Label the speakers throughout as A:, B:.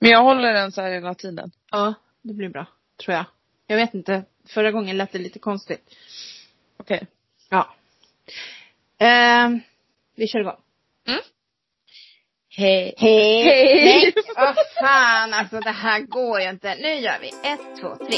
A: Men jag håller den så här hela tiden.
B: Ja, det blir bra. Tror jag. Jag vet inte. Förra gången lät det lite konstigt.
A: Okej.
B: Ja. Ehm, vi kör igång.
A: Mm.
B: Hej. Hej.
A: Hej.
B: Nej, vad fan alltså det här går ju inte. Nu gör vi ett, två, tre.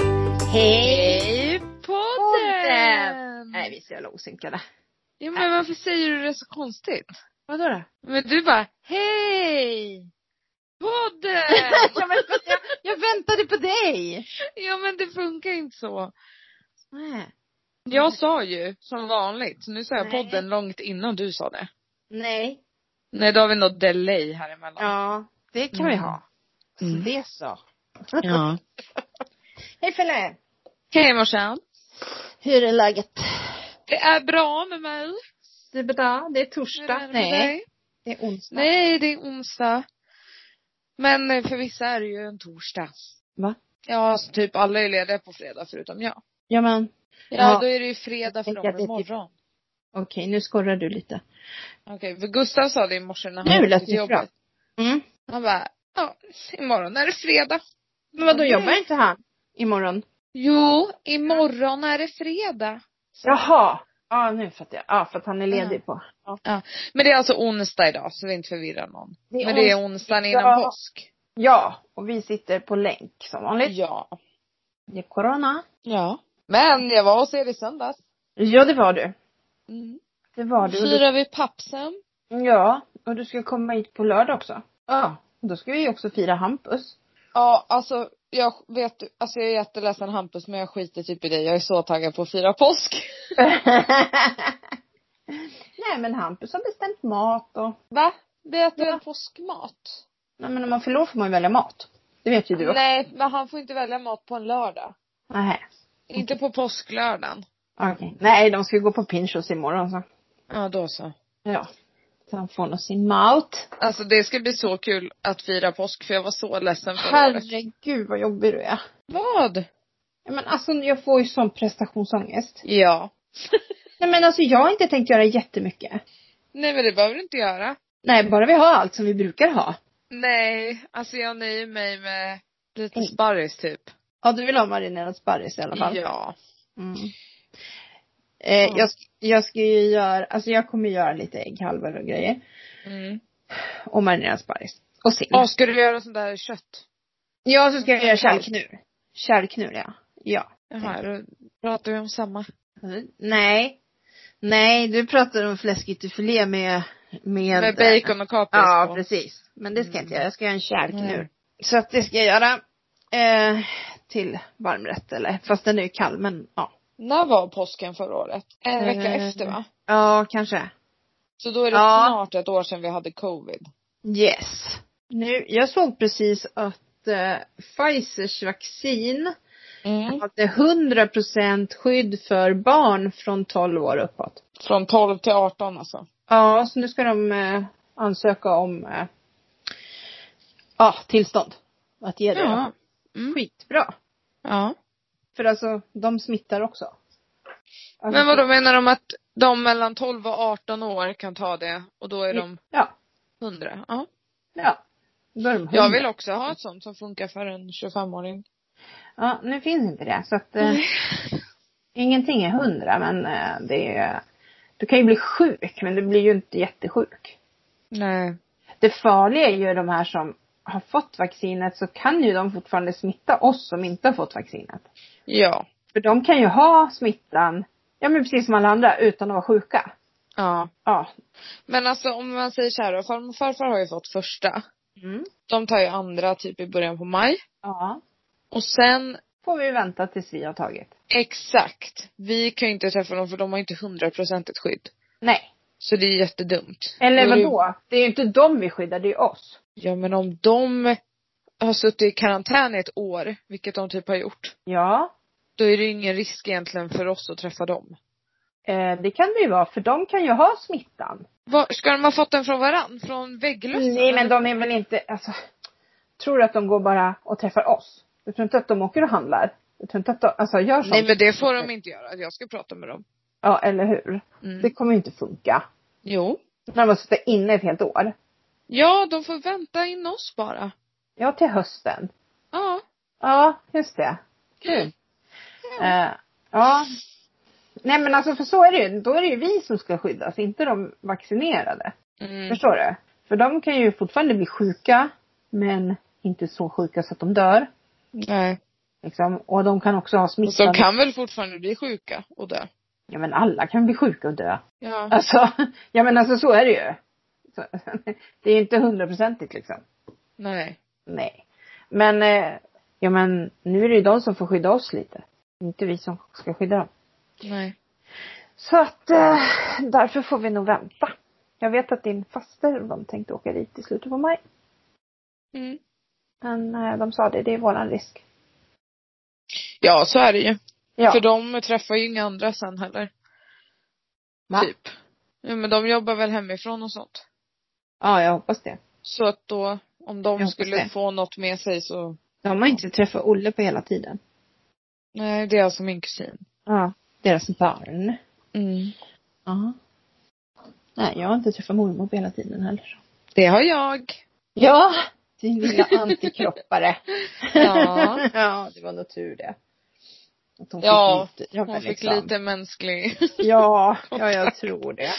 B: Hej.
A: Hej podden!
B: Podden! Nej vi är så jävla osynkade.
A: Ja, men varför säger du det så konstigt?
B: Vadå då?
A: Men du bara, hej! Podden!
B: ja, men, jag, jag väntade på dig.
A: ja men det funkar inte så.
B: Nej.
A: Jag sa ju, som vanligt, så nu sa jag
B: Nej.
A: podden långt innan du sa det.
B: Nej.
A: Nej, då har vi något delay här emellan.
B: Ja, det kan vi
A: Mm.
B: ha.
A: Mm.
B: Så det så.
A: ja.
B: Hej Felle.
A: Hej morsan.
B: Hur är läget?
A: Det är bra med mig.
B: Det är bra. Det är
A: Hur är
B: torsdag.
A: det med dig?
B: Det är onsdag.
A: Nej, det är onsdag. Men eh, för vissa är det ju en torsdag.
B: Va?
A: Ja, så typ alla är lediga på fredag förutom jag.
B: Ja men.
A: Ja,
B: Ja.
A: då är det ju fredag för
B: Jag
A: dem
B: tänker att det är typ-
A: imorgon.
B: Okej, nu skorrar du lite.
A: Okej, för Gustav sa det i morse när
B: Nu
A: han
B: lät
A: åkte
B: det
A: till
B: bra.
A: jobbet.
B: Mm.
A: Han bara, ja, imorgon är det fredag.
B: Men vadå,
A: Okej.
B: jobbar inte han imorgon?
A: Jo, imorgon är det fredag.
B: Jaha. Ja, nu fattar jag. Ja, för att han är
A: Mm.
B: ledig på.
A: Men det är alltså onsdag idag, så vi inte förvirrar någon.
B: Det är
A: Men det är
B: ons-
A: onsdagen
B: Ja.
A: innan påsk.
B: Ja, och vi sitter på länk som vanligt.
A: Ja.
B: Det är corona.
A: Ja. Men jag var hos er i söndags.
B: Ja, det var du.
A: Mm.
B: Det var du. Och du-
A: Firar vi pappsen.
B: Ja, och du ska komma hit på lördag också. Ja. Då ska vi också fira Hampus.
A: Ja, alltså jag vet, alltså jag är jätteledsen Hampus men jag skiter typ i dig. Jag är så taggad på att fira påsk.
B: Nej men Hampus har bestämt mat och,
A: Va? Vi äter
B: Ja.
A: en påskmat?
B: nej men om man förlorar får man ju välja mat. Det vet ju du också.
A: Nej, men han får inte välja mat på en lördag.
B: Nej.
A: Inte på påsklördagen.
B: Okej. Nej de ska ju gå på Pinchos imorgon så.
A: Ja, då så.
B: Ja. Så han får nog sin mat.
A: Alltså det ska bli så kul att fira påsk för jag var så ledsen förra året.
B: Herregud vad jobbig du är.
A: Vad?
B: Ja, Men alltså jag får ju sån prestationsångest.
A: Ja.
B: Nej men alltså jag har inte tänkt göra jättemycket.
A: Nej men det behöver du inte göra.
B: Nej bara vi har allt som vi brukar ha.
A: Nej, alltså jag nöjer mig med lite
B: Mm.
A: sparris typ.
B: Ja du vill ha marinerad sparris i alla fall.
A: Ja.
B: Mm. Eh,
A: Ja.
B: jag, sk- jag ska ju göra, alltså jag kommer göra lite ägghalvor och grejer.
A: Mm.
B: Och marinerad sparris. Och sill.
A: Ja, ska du göra sånt där kött?
B: Ja, så ska jag göra kärlknur. Kärlknur ja. Ja.
A: Jaha, då pratar vi om samma.
B: Mm. Nej. Nej, du pratar om fläskytterfilé med, med...
A: Med bacon och kapris
B: Ja,
A: på.
B: precis. Men det ska jag inte göra. Jag ska göra en kärlknur.
A: Mm.
B: Så att det ska jag göra. Eh, till varmrätt eller, fast den är ju kall men ja.
A: När var påsken förra året? En vecka
B: Eh.
A: efter va?
B: Ja, kanske.
A: Så då är det
B: Ja.
A: snart ett år sedan vi hade covid.
B: Yes. Nu, jag såg precis att eh, Pfizers vaccin
A: Mm.
B: hade 100% skydd för barn från 12 år uppåt.
A: Från 12 till 18 alltså.
B: Ja, så nu ska de eh, ansöka om eh, ja, tillstånd att ge det.
A: Ja. Mm.
B: Skitbra.
A: Ja.
B: För alltså, de smittar också. Alltså,
A: Men vad då menar de att de mellan 12 och 18 år kan ta det och då
B: Mm.
A: är de
B: Ja.
A: 100?
B: Mm.
A: Ja.
B: Ja. Då är de
A: Jag
B: hundra.
A: vill också ha ett sånt som funkar för en 25-åring.
B: Ja, nu finns inte det. Så att, eh,
A: Mm.
B: ingenting är hundra, men eh, det är, du kan ju bli sjuk, men du blir ju inte jättesjuk.
A: Nej.
B: Det farliga är ju de här som har fått vaccinet så kan ju de fortfarande smitta oss som inte har fått vaccinet.
A: Ja.
B: För de kan ju ha smittan, ja men precis som alla andra, utan att vara sjuka.
A: Ja.
B: Ja.
A: Men alltså om man säger så här då, farmor och farfar har ju fått första.
B: Mm.
A: De tar ju andra typ i början på maj.
B: Ja.
A: Och sen
B: Får vi vänta tills vi har tagit.
A: Exakt. Vi kan ju inte träffa dem för de har inte hundraprocentigt skydd.
B: Nej.
A: Så det är jättedumt.
B: Eller
A: Då är det ju-
B: vadå? Det är ju inte dem vi skyddar, det är ju oss.
A: Ja men om de har suttit i karantän i ett år, vilket de typ har gjort,
B: Ja.
A: då är det ju ingen risk egentligen för oss att träffa dem.
B: Eh, det kan det ju vara, för de kan ju ha smittan.
A: Var, ska de ha fått den från varann? Från vägglössen?
B: Nej, men de är väl inte, alltså, tror du att de går bara och träffar oss? Du tror inte att de åker och handlar? Du tror inte att de, alltså gör sånt?
A: Nej men det får de inte göra. Jag ska prata med dem.
B: Ja, eller hur?
A: Mm.
B: Det kommer ju inte funka.
A: Jo.
B: När de har suttit inne ett helt år.
A: Ja, de får vänta in oss bara.
B: Ja, till hösten.
A: Ja.
B: Ja, just det. Kul. Eh, ja. Nej men alltså för så är det ju. Då är det ju vi som ska skyddas, inte de vaccinerade.
A: Mm.
B: Förstår du? För de kan ju fortfarande bli sjuka, men inte så sjuka så att de dör.
A: Nej.
B: Liksom. Och de kan också ha
A: Och så
B: smittan.
A: kan väl fortfarande bli sjuka och dö.
B: Ja men alla kan bli sjuka och dö.
A: Ja.
B: Alltså, ja men alltså så är det ju. Så, det är ju inte hundraprocentigt liksom.
A: Nej.
B: Nej. Men, eh, ja men nu är det ju de som får skydda oss lite. Inte vi som ska skydda dem.
A: Nej.
B: Så att eh, därför får vi nog vänta. Jag vet att din faster, de tänkte åka dit i slutet på maj.
A: Mm.
B: Men eh, de sa det, det är våran risk.
A: Ja, så är det ju.
B: Ja.
A: För de träffar ju inga andra sen heller.
B: Va?
A: Typ. Ja, men de jobbar väl hemifrån och sånt.
B: Ja, jag hoppas det.
A: Så att då, om de
B: Jag hoppas
A: skulle
B: det.
A: få något med sig så,
B: De har inte träffat Olle på hela tiden.
A: nej det är alltså min kusin.
B: Ja. Deras barn.
A: Mm.
B: Ja. Nej, jag har inte träffat mormor på hela tiden heller.
A: Det har jag.
B: Ja! Din lilla antikroppare.
A: Ja.
B: ja, det var nog tur det. Att hon
A: Ja,
B: fick lite, ja,
A: Hon
B: men
A: fick
B: liksom.
A: lite mänsklig.
B: Ja, ja, jag tror det.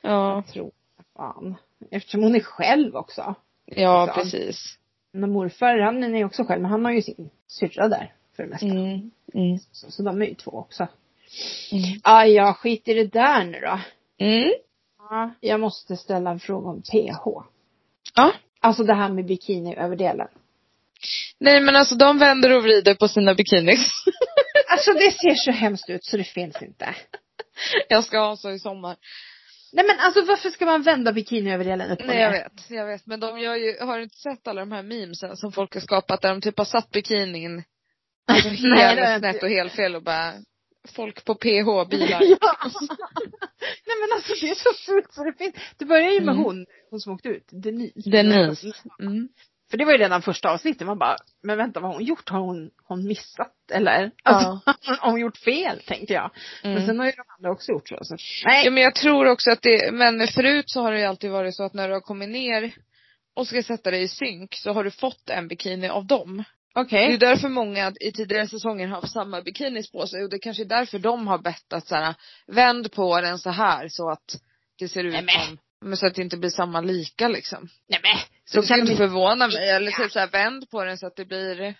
A: Ja.
B: Jag tror fan. Eftersom hon är själv också.
A: Ja,
B: Liksom.
A: precis.
B: Men morfar, han är ju också själv, men han har ju sin syrra där för det mesta.
A: Mm. Mm.
B: Så, så de är ju två också.
A: Mm.
B: Ah, ja, skit i det där nu då.
A: Mm.
B: Ja. Jag måste ställa en fråga om PH.
A: Ja.
B: Alltså det här med bikiniöverdelen.
A: Nej men alltså de vänder och vrider på sina bikinis.
B: Alltså det ser så hemskt ut så det finns inte.
A: Jag ska ha så i sommar.
B: Nej men alltså varför ska man vända bikiniöverdelen upp och
A: Nej jag
B: ner?
A: vet, jag vet. Men de gör ju, har du inte sett alla de här memesen som folk har skapat där de typ har satt bikinin alltså
B: Nej, det har jag
A: helt snett
B: inte.
A: och helt fel och bara folk på PH bilar.
B: Ja. Nej men alltså det är så fult så det finns. Det börjar ju med
A: Mm.
B: hon, hon som åkte ut, Denise.
A: Denise. Mm.
B: För det var ju redan första avsnittet, man bara, men vänta vad har hon gjort? Har hon, har hon missat eller? Alltså, har hon gjort fel tänkte jag. Men
A: Mm.
B: sen har ju de andra också gjort så. så. Nej.
A: Ja men jag tror också att det, men förut så har det ju alltid varit så att när du har kommit ner och ska sätta dig i synk så har du fått en bikini av dem.
B: Okej.
A: Det är därför många i tidigare säsonger har haft samma bikinis på sig och det kanske är därför de har bett att så här, vänd på den så här så att det ser ut
B: Nej, men.
A: som, men så att det inte blir samma lika liksom.
B: Nej men.
A: Så
B: Så
A: det kan
B: kan
A: inte
B: de inte.
A: förvåna mig. Eller typ så här, vänd på den så att det blir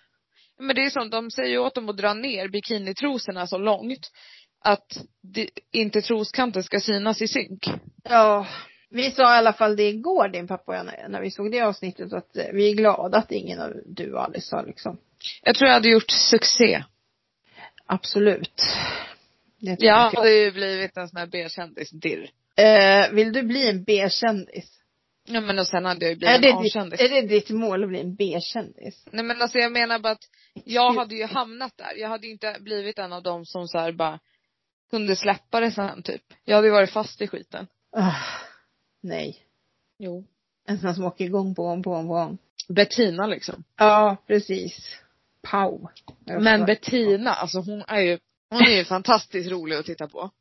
A: men det är som de säger ju åt dem att dra ner bikinitrosorna så långt att det, inte troskanten ska synas i synk.
B: Ja. Vi sa i alla fall det igår din pappa och jag när, när vi såg det avsnittet att eh, vi är glada att ingen av du och Alice sa liksom.
A: Jag tror jag hade gjort succé.
B: Absolut. Det tror
A: Jag
B: jag.
A: hade ju blivit en sån här B-kändis-dirr.
B: Eh, vill du bli en B-kändis?
A: Ja men och sen hade jag ju
B: Är
A: blivit
B: det,
A: en
B: ditt,
A: A-kändis.
B: är det ditt mål att bli en B-kändis?
A: Nej men alltså jag menar bara att jag hade ju hamnat där. Jag hade ju inte blivit en av dem som så här bara kunde släppa det sen typ. Jag hade ju varit fast i skiten.
B: Ah, nej.
A: Jo.
B: En sån som åker igång på gång på gång på gång.
A: Bettina liksom.
B: Ja, precis. Pow.
A: Men Bettina, alltså hon är ju, hon är ju fantastiskt rolig att titta på.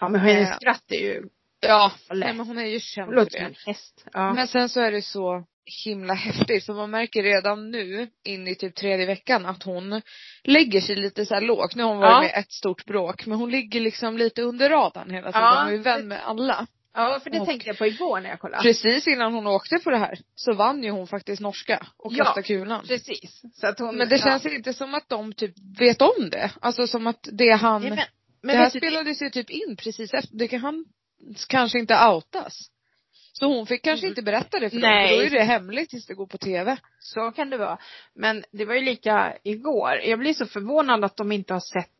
B: Ja, men hennes skratt är ju,
A: Ja.
B: Eller?
A: Nej men hon är ju känd
B: hon
A: för
B: låter som en
A: det.
B: häst. Eh, Ja.
A: Men sen så är det så himla häftigt för man märker redan nu in i typ tredje veckan att hon lägger sig lite så här lågt. Nu har hon varit
B: Ja.
A: med i ett stort bråk men hon ligger liksom lite under radarn hela tiden.
B: Ja.
A: Hon är ju vän med alla.
B: ja, för det
A: och-
B: tänkte jag på igår när jag kollade.
A: Precis innan hon åkte på det här så vann ju hon faktiskt norska och
B: Ja.
A: kastade kulan.
B: Precis. Så att hon,
A: Men det
B: ja.
A: känns inte som att de typ vet om det. Alltså som att det han,
B: Nej, men,
A: det
B: men
A: här
B: vet du,
A: spelades ju typ in precis efter, det kan han kanske inte outas. Så hon fick kanske
B: Mm.
A: inte berätta det för dem,
B: Nej.
A: för då är det hemligt tills det går på tv.
B: så kan det vara. Men det var ju lika igår. Jag blir så förvånad att de inte har sett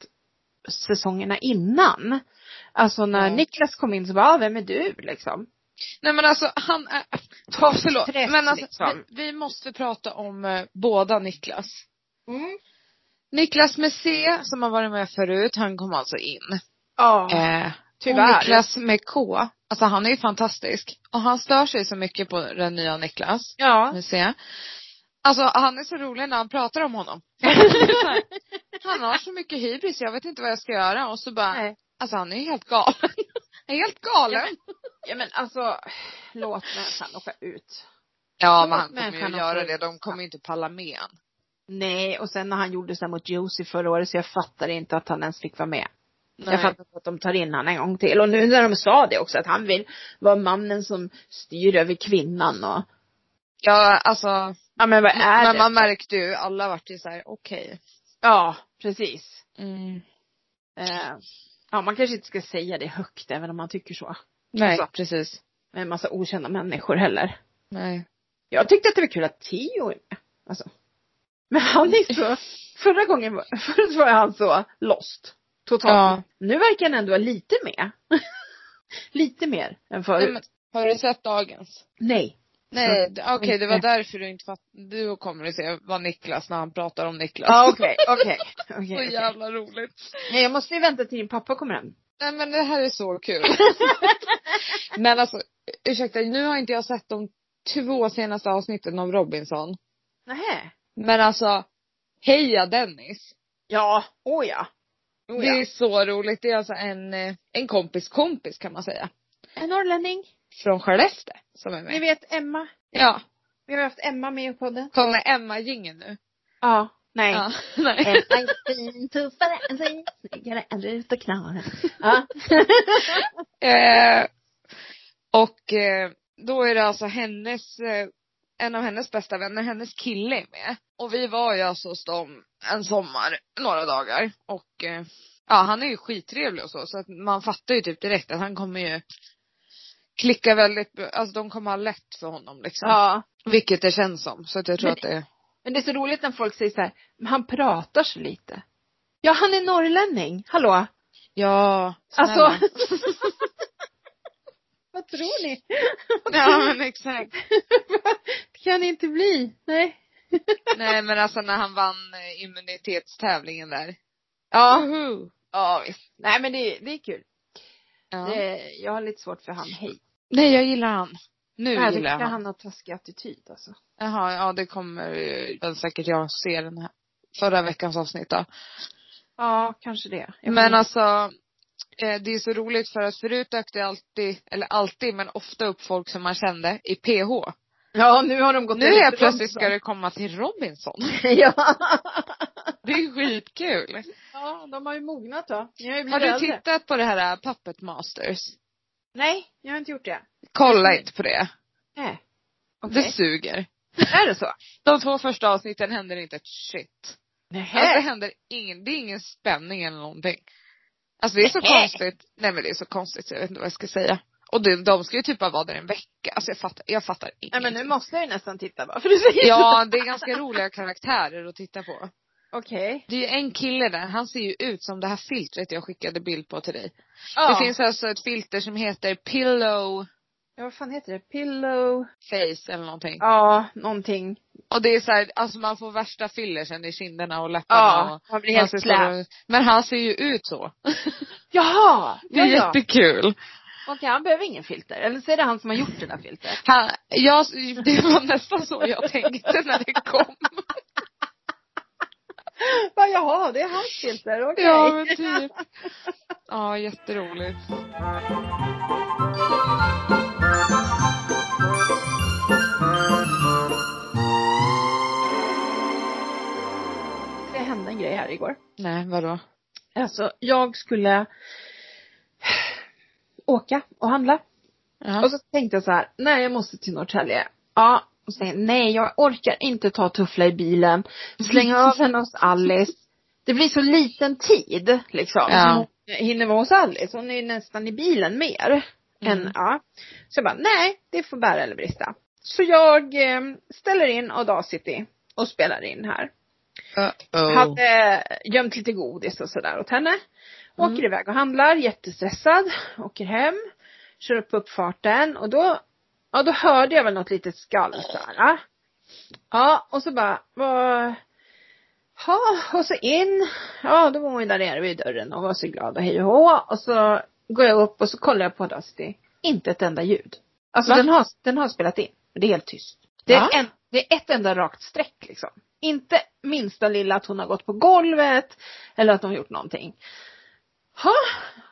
B: säsongerna innan. Alltså när
A: Ja.
B: Niklas kom in så bara, ah, vem är du liksom?
A: Nej men alltså han är,
B: Ta
A: förlåt.
B: stress,
A: Men alltså
B: liksom.
A: vi, vi måste prata om eh, båda Niklas.
B: Mm.
A: Niklas med C som har varit med förut, han kom alltså in.
B: Ja.
A: Eh, Och
B: Tyvärr.
A: Niklas med K, alltså han är ju fantastisk. Och han stör sig så mycket på den nya Niklas.
B: Ja.
A: Vi ser. Alltså han är så rolig när han pratar om honom. han har så mycket hybris, jag vet inte vad jag ska göra. Och så bara,
B: Nej.
A: alltså han är ju helt galen. Han är helt galen.
B: ja men alltså, låt människan åka ut.
A: Ja men han
B: Men
A: kommer
B: kan
A: ju
B: också-
A: göra det, de kommer ju inte palla med han.
B: Nej, och sen när han gjorde så här mot Josie förra året så jag fattar inte att han ens fick vara med. Jag fattar inte att de tar in han en gång till. Och nu när de sa det också att han vill vara mannen som styr över kvinnan och
A: Ja alltså,
B: Ja men vad är
A: men
B: det?
A: man märkte ju, alla vart ju såhär, okej.
B: Ja, precis.
A: Mm.
B: Eh, ja man kanske inte ska säga det högt även om man tycker så.
A: Nej
B: Alltså.
A: precis.
B: Med en massa okända människor heller.
A: Nej.
B: Jag tyckte att det var kul att Tio är med. Alltså. Men han är så, förra gången var, förut var han så lost. Totalt.
A: Ja.
B: Nu verkar han ändå vara lite med. lite mer än förut.
A: Nej, men, har du sett dagens?
B: Nej.
A: Nej, d- okej det var
B: inte-
A: därför du inte fattade. Du kommer att se vad Niklas, när han pratar om Niklas.
B: Ja okej, okej. okej,
A: Så
B: okej.
A: jävla roligt.
B: Nej jag måste ju vänta till din pappa kommer hem.
A: Nej men det här är så kul. men alltså, ursäkta, nu har inte jag sett de två senaste avsnitten om Robinson.
B: Nähä.
A: Men alltså, heja Dennis.
B: Ja, åh ja. Oh,
A: Det
B: ja.
A: är så roligt. Det är alltså en, eh, en kompis kompis kan man säga.
B: En norrlänning.
A: Från Skellefteå som är
B: Ni
A: med.
B: vet Emma.
A: Ja.
B: Vi har haft Emma med i podden.
A: Kommer Emma gingen nu?
B: Ja. Nej.
A: Ja. Nej.
B: Emma är fin, tuffare än sin, snyggare än Rut och Knorr. Ja.
A: Eh, och eh, då är det alltså hennes, eh, en av hennes bästa vänner, hennes kille är med. Och vi var ju alltså hos dem en sommar, några dagar. Och eh, ja, han är ju skittrevlig och så. Så att man fattar ju typ direkt att han kommer ju klicka väldigt, bra. alltså de kommer ha lätt för honom liksom.
B: ja.
A: Vilket det känns som. Så att jag tror
B: Men-
A: att det är,
B: Men det är så roligt när folk säger så här, "Men han pratar så lite. Ja, han är norrlänning. Hallå?
A: ja, snälla.
B: Alltså. Vad tror ni?
A: Ja men exakt.
B: det kan det inte bli. Nej.
A: Nej men alltså när han vann eh, immunitetstävlingen där.
B: Ja.
A: Woho!
B: Ja, visst. Nej, men det, det är kul.
A: Ja.
B: Det, jag har lite svårt för han Hej.
A: Nej, jag gillar han. Nu gillar
B: Jag tycker
A: jag han.
B: han har taskig attityd alltså.
A: Jaha, ja det kommer eh, väl säkert jag se den här förra veckans avsnitt då.
B: Ja, kanske det. Jag kommer
A: Men
B: inte-
A: alltså, eh, det är så roligt för att förut dök det alltid, eller alltid, men ofta upp folk som man kände i PH.
B: Ja, nu har de gått
A: Nu
B: över
A: helt
B: till
A: plötsligt ska
B: Robinson.
A: det komma till Robinson.
B: ja.
A: Det är skitkul.
B: ja, de har ju mognat då. Ni har ju
A: Har
B: blivit
A: du
B: äldre.
A: tittat på det här eh, Puppet Masters?
B: Nej, jag har inte gjort det.
A: Kolla inte på det.
B: Nej. Okej.
A: Det suger.
B: Är det så?
A: De två första avsnitten händer inte ett shit. Alltså det
B: Nej.
A: händer ingen, det är ingen spänning eller någonting. Alltså det är så
B: Nej.
A: konstigt. Nej men det är så konstigt så jag vet inte vad jag ska säga. Och de, de ska ju typ bara vara där en vecka. Alltså jag fattar, jag fattar
B: Nej
A: ingenting.
B: men nu måste jag ju nästan titta bara för du säger så.
A: Ja, det är ganska roliga karaktärer att titta på.
B: Okej.
A: Det är ju en kille där, han ser ju ut som det här filtret jag skickade bild på till dig.
B: Ja.
A: Det finns alltså ett filter som heter pillow
B: ja, vad fan heter det? Pillow?
A: face eller någonting.
B: Ja, någonting.
A: Och det är så här, alltså man får värsta fillersen i kinderna och läpparna
B: Ja,
A: och
B: man blir
A: man
B: helt
A: ser
B: slät.
A: så- Men han ser ju ut så.
B: Jaha!
A: Det är
B: Ja, ja.
A: jättekul.
B: Okej, han behöver ingen filter. Eller så är det han som har gjort det där filtret.
A: Han, jag, det var nästan så jag tänkte när det kom.
B: Va, jaha, det är hans filter. Okej.
A: Ja men typ. Ja jätteroligt.
B: Det hände en grej här igår.
A: Nej vadå?
B: Alltså, jag skulle åka och handla.
A: Ja.
B: Och så tänkte jag så här, nej jag måste till Norrtälje. Ja. Och så tänkte jag, nej jag orkar inte ta Tuffla i bilen. Slänga av henne hos Alice. Det blir så liten tid liksom.
A: Ja.
B: Jag hinner vara hos Alice. Hon är ju nästan i bilen mer.
A: Mm.
B: Än, ja. Så jag bara, nej det får bära eller brista. Så jag eh, ställer in Audacity och spelar in här.
A: Uh-oh.
B: Hade gömt lite godis och sådär åt henne. Åker
A: Mm.
B: iväg och handlar, jättestressad. Åker hem. Kör upp på uppfarten och då, ja då hörde jag väl något litet skall såhär. Ja och så bara, vad, ja och så in. Ja då var hon ju där nere vid dörren och var så glad och hej och hå. Och så går jag upp och så kollar jag på Audacity. Inte ett enda ljud. Alltså
A: Va?
B: den har, den har spelat in. Men det är helt tyst. Det
A: Va?
B: är, en, det är ett enda rakt streck liksom. Inte minsta lilla att hon har gått på golvet eller att hon har gjort någonting. Ha,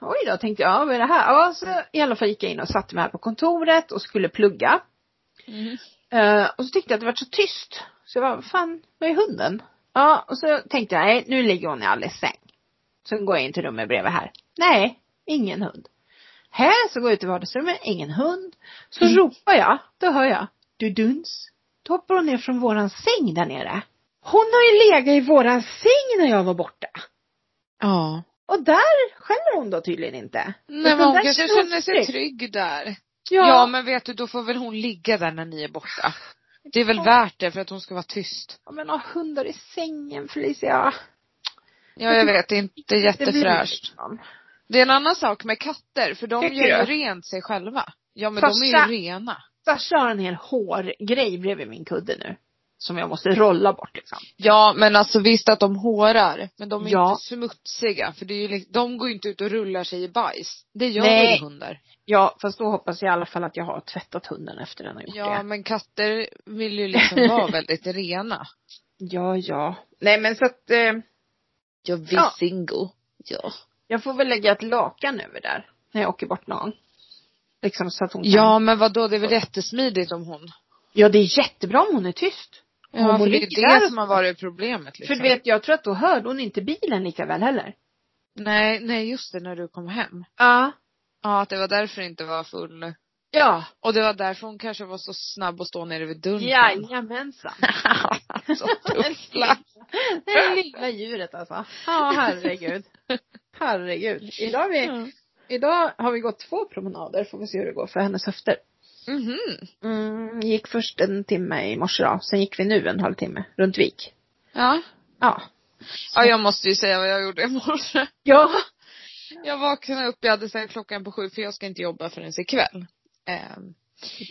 B: oj då tänkte jag, ja, vad är det här? Ja, så i alla fall gick jag in och satte mig här på kontoret och skulle plugga.
A: Mm.
B: Eh, och så tyckte jag att det var så tyst. Så jag bara, vad fan, var är hunden? Ja, och så tänkte jag, nej nu ligger hon i Alice säng. Så går jag in till rummet bredvid här. Nej, ingen hund. Här, så går jag ut i vardagsrummet, ingen hund. Så
A: Mm.
B: ropar jag, då hör jag, du duns. Då hoppar hon ner från våran säng där nere. Hon har ju legat i våran säng när jag var borta.
A: Ja.
B: Och där skäller hon då tydligen inte.
A: Nej men
B: Utan
A: hon
B: där
A: kanske
B: känner hon
A: känner sig
B: trygg.
A: trygg där. Ja.
B: Ja,
A: men vet du, då får väl hon ligga där när ni är borta. Det är väl värt det för att hon ska vara tyst.
B: men, men ha hundar i sängen Felicia.
A: Ja jag vet, det är inte
B: Det blir
A: jättefräscht.
B: liksom.
A: Det är en annan sak med katter, för de
B: Tycker
A: gör ju
B: du?
A: rent sig själva. Ja men
B: Fast
A: de är
B: sa-
A: ju rena.
B: Sasha har en hel hårgrej bredvid min kudde nu. Som jag måste rolla bort liksom.
A: Ja men alltså visst att de hårar, men de är
B: Ja.
A: inte smutsiga. För det är ju liksom, de går ju inte ut och rullar sig i bajs. Det gör
B: Nej.
A: väl hundar.
B: Ja, fast då hoppas jag i alla fall att jag har tvättat hunden efter den har gjort
A: Ja
B: det.
A: men katter vill ju liksom vara väldigt rena.
B: Ja, ja. Nej men så att eh,
A: Jag vill
B: Ja.
A: single. Ja.
B: jag får väl lägga ett lakan över där. När jag åker bort någon gång. Liksom så att hon kan.
A: Ja men vadå, det är väl jättesmidigt om hon.
B: ja, det är jättebra om hon är tyst. Om
A: Ja, för
B: hon
A: det
B: ligger där
A: är det
B: och-
A: som har varit problemet liksom.
B: För du vet, jag tror att då hörde hon inte bilen lika väl heller.
A: Nej, nej just det, när du kom hem.
B: Ja.
A: Ja, att det var därför det inte var full.
B: Ja.
A: Och det var därför hon kanske var så snabb att stå nere vid dörren.
B: Jajamensan.
A: så tuffla.
B: Det lilla djuret alltså. Ja, herregud. Herregud. Idag, är vi,
A: Mm.
B: idag har vi gått två promenader, får vi se hur det går för hennes höfter.
A: Mhm.
B: Mm, gick först en timme i morse då, sen gick vi nu en halvtimme runt Vik.
A: Ja.
B: Ja.
A: ja, jag måste ju säga vad jag gjorde i morse.
B: Ja.
A: Jag vaknade upp, jag hade ställt klockan på sju för jag ska inte jobba förrän ikväll. Ehm,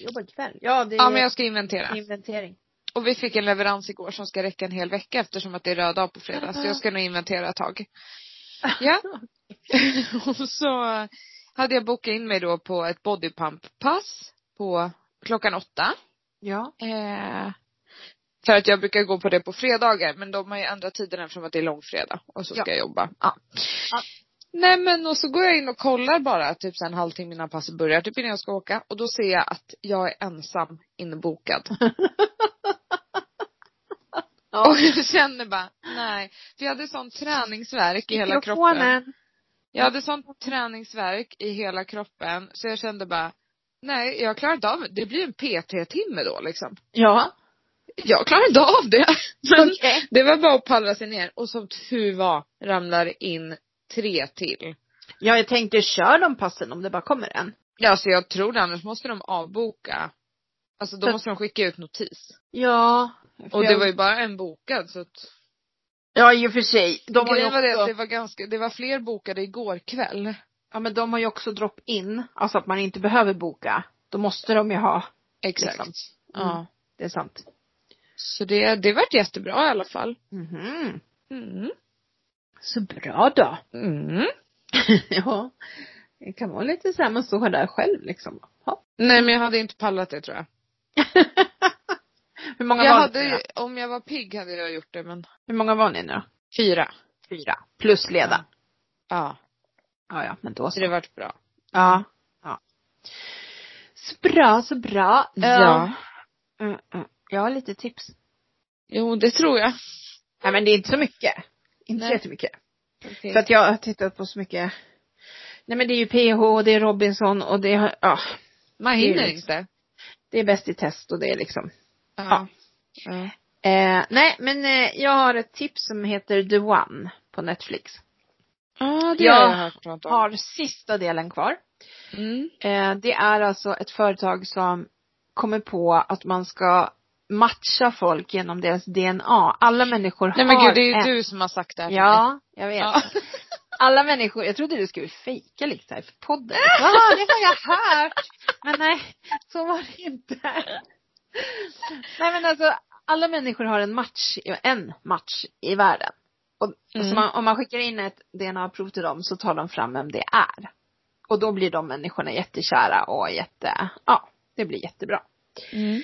B: Jobbar kväll. Ja, det är
A: ja men jag ska inventera.
B: inventering.
A: Och vi fick en leverans igår som ska räcka en hel vecka eftersom att det är röd dag på fredag. Så jag ska nog inventera ett tag. Ja. och så hade jag bokat in mig då på ett bodypump-pass på klockan åtta.
B: Ja.
A: Eh, för att jag brukar gå på det på fredagar men de har ju ändrat tiden eftersom att det är långfredag och så ska jag jobba. Ja.
B: Ja.
A: Nej men och så går jag in och kollar bara typ sen en halvtimme innan passet börjar typ innan jag ska åka och då ser jag att jag är ensam inbokad.
B: Ja.
A: Och jag känner bara, nej. För jag hade sån träningsvärk i hela kroppen.
B: Mikrofonen.
A: Jag hade sån träningsvärk i hela kroppen så jag kände bara, nej jag klarar inte av det. Det blir en PT-timme då liksom.
B: Ja.
A: Jag klarar inte av det. Men
B: Okej.
A: det var bara att pallra sig ner och som tur var ramlar in tre till.
B: Ja, jag tänkte kör de passen om det bara kommer en.
A: Ja, så jag tror det, annars måste de avboka. Alltså då
B: Så-
A: måste de skicka ut notis.
B: Ja.
A: Och det var ju bara en bokad så att
B: Ja, i och för sig. De har ju
A: Grejen var det
B: också...
A: att det var ganska, det var fler bokade igår kväll.
B: Ja men de har ju också drop-in, alltså att man inte behöver boka. Då måste de ju ha,
A: Exakt.
B: Liksom.
A: Ja.
B: Mm. det är sant.
A: Så det, det vart jättebra i alla fall.
B: Mhm.
A: Mm.
B: Så bra då.
A: Mm.
B: ja. Det kan vara lite så här man står där själv liksom. Ja.
A: Nej men jag hade inte pallat det tror jag.
B: Hur många
A: Jag
B: var
A: hade,
B: ni nu då?
A: ju- om jag var pigg hade jag gjort det men.
B: Hur många var ni nu då?
A: Fyra.
B: Fyra. Plus leda.
A: Ja.
B: Mm. Ja ja, men då
A: Så
B: så.
A: det vart bra.
B: Ja. ja. Så bra, så bra.
A: Ja.
B: Eh, mm, mm. Jag har lite tips.
A: Jo det tror jag.
B: Nej men det är inte så mycket. Inte
A: Nej.
B: så jättemycket.
A: Okay.
B: För att jag har tittat på så mycket. Nej men det är ju PH och det är Robinson och det är, ja,
A: Man
B: det
A: hinner
B: är ju-
A: inte.
B: det är bäst i test och det är liksom.
A: Ja. ja.
B: Eh, nej men eh, jag har ett tips som heter The One på Netflix.
A: Ja, det
B: Jag
A: har jag hört något om.
B: Har sista delen kvar.
A: Mm.
B: Eh, det är alltså ett företag som kommer på att man ska matcha folk genom deras DNA. Alla människor
A: Nej men
B: har
A: gud det är
B: en-
A: ju du som har sagt det här till mig.
B: Ja, jag vet.
A: Ja.
B: Alla människor, jag trodde du skulle fejka lite så här för podden. Ja, det har jag hört. Men nej, så var det inte. Nej men alltså, alla människor har en match, en match i världen. Och
A: Mm.
B: så man, om man skickar in ett DNA-prov till dem så tar de fram vem det är. Och då blir de människorna jättekära och jätte, ja, det blir jättebra.
A: Mm.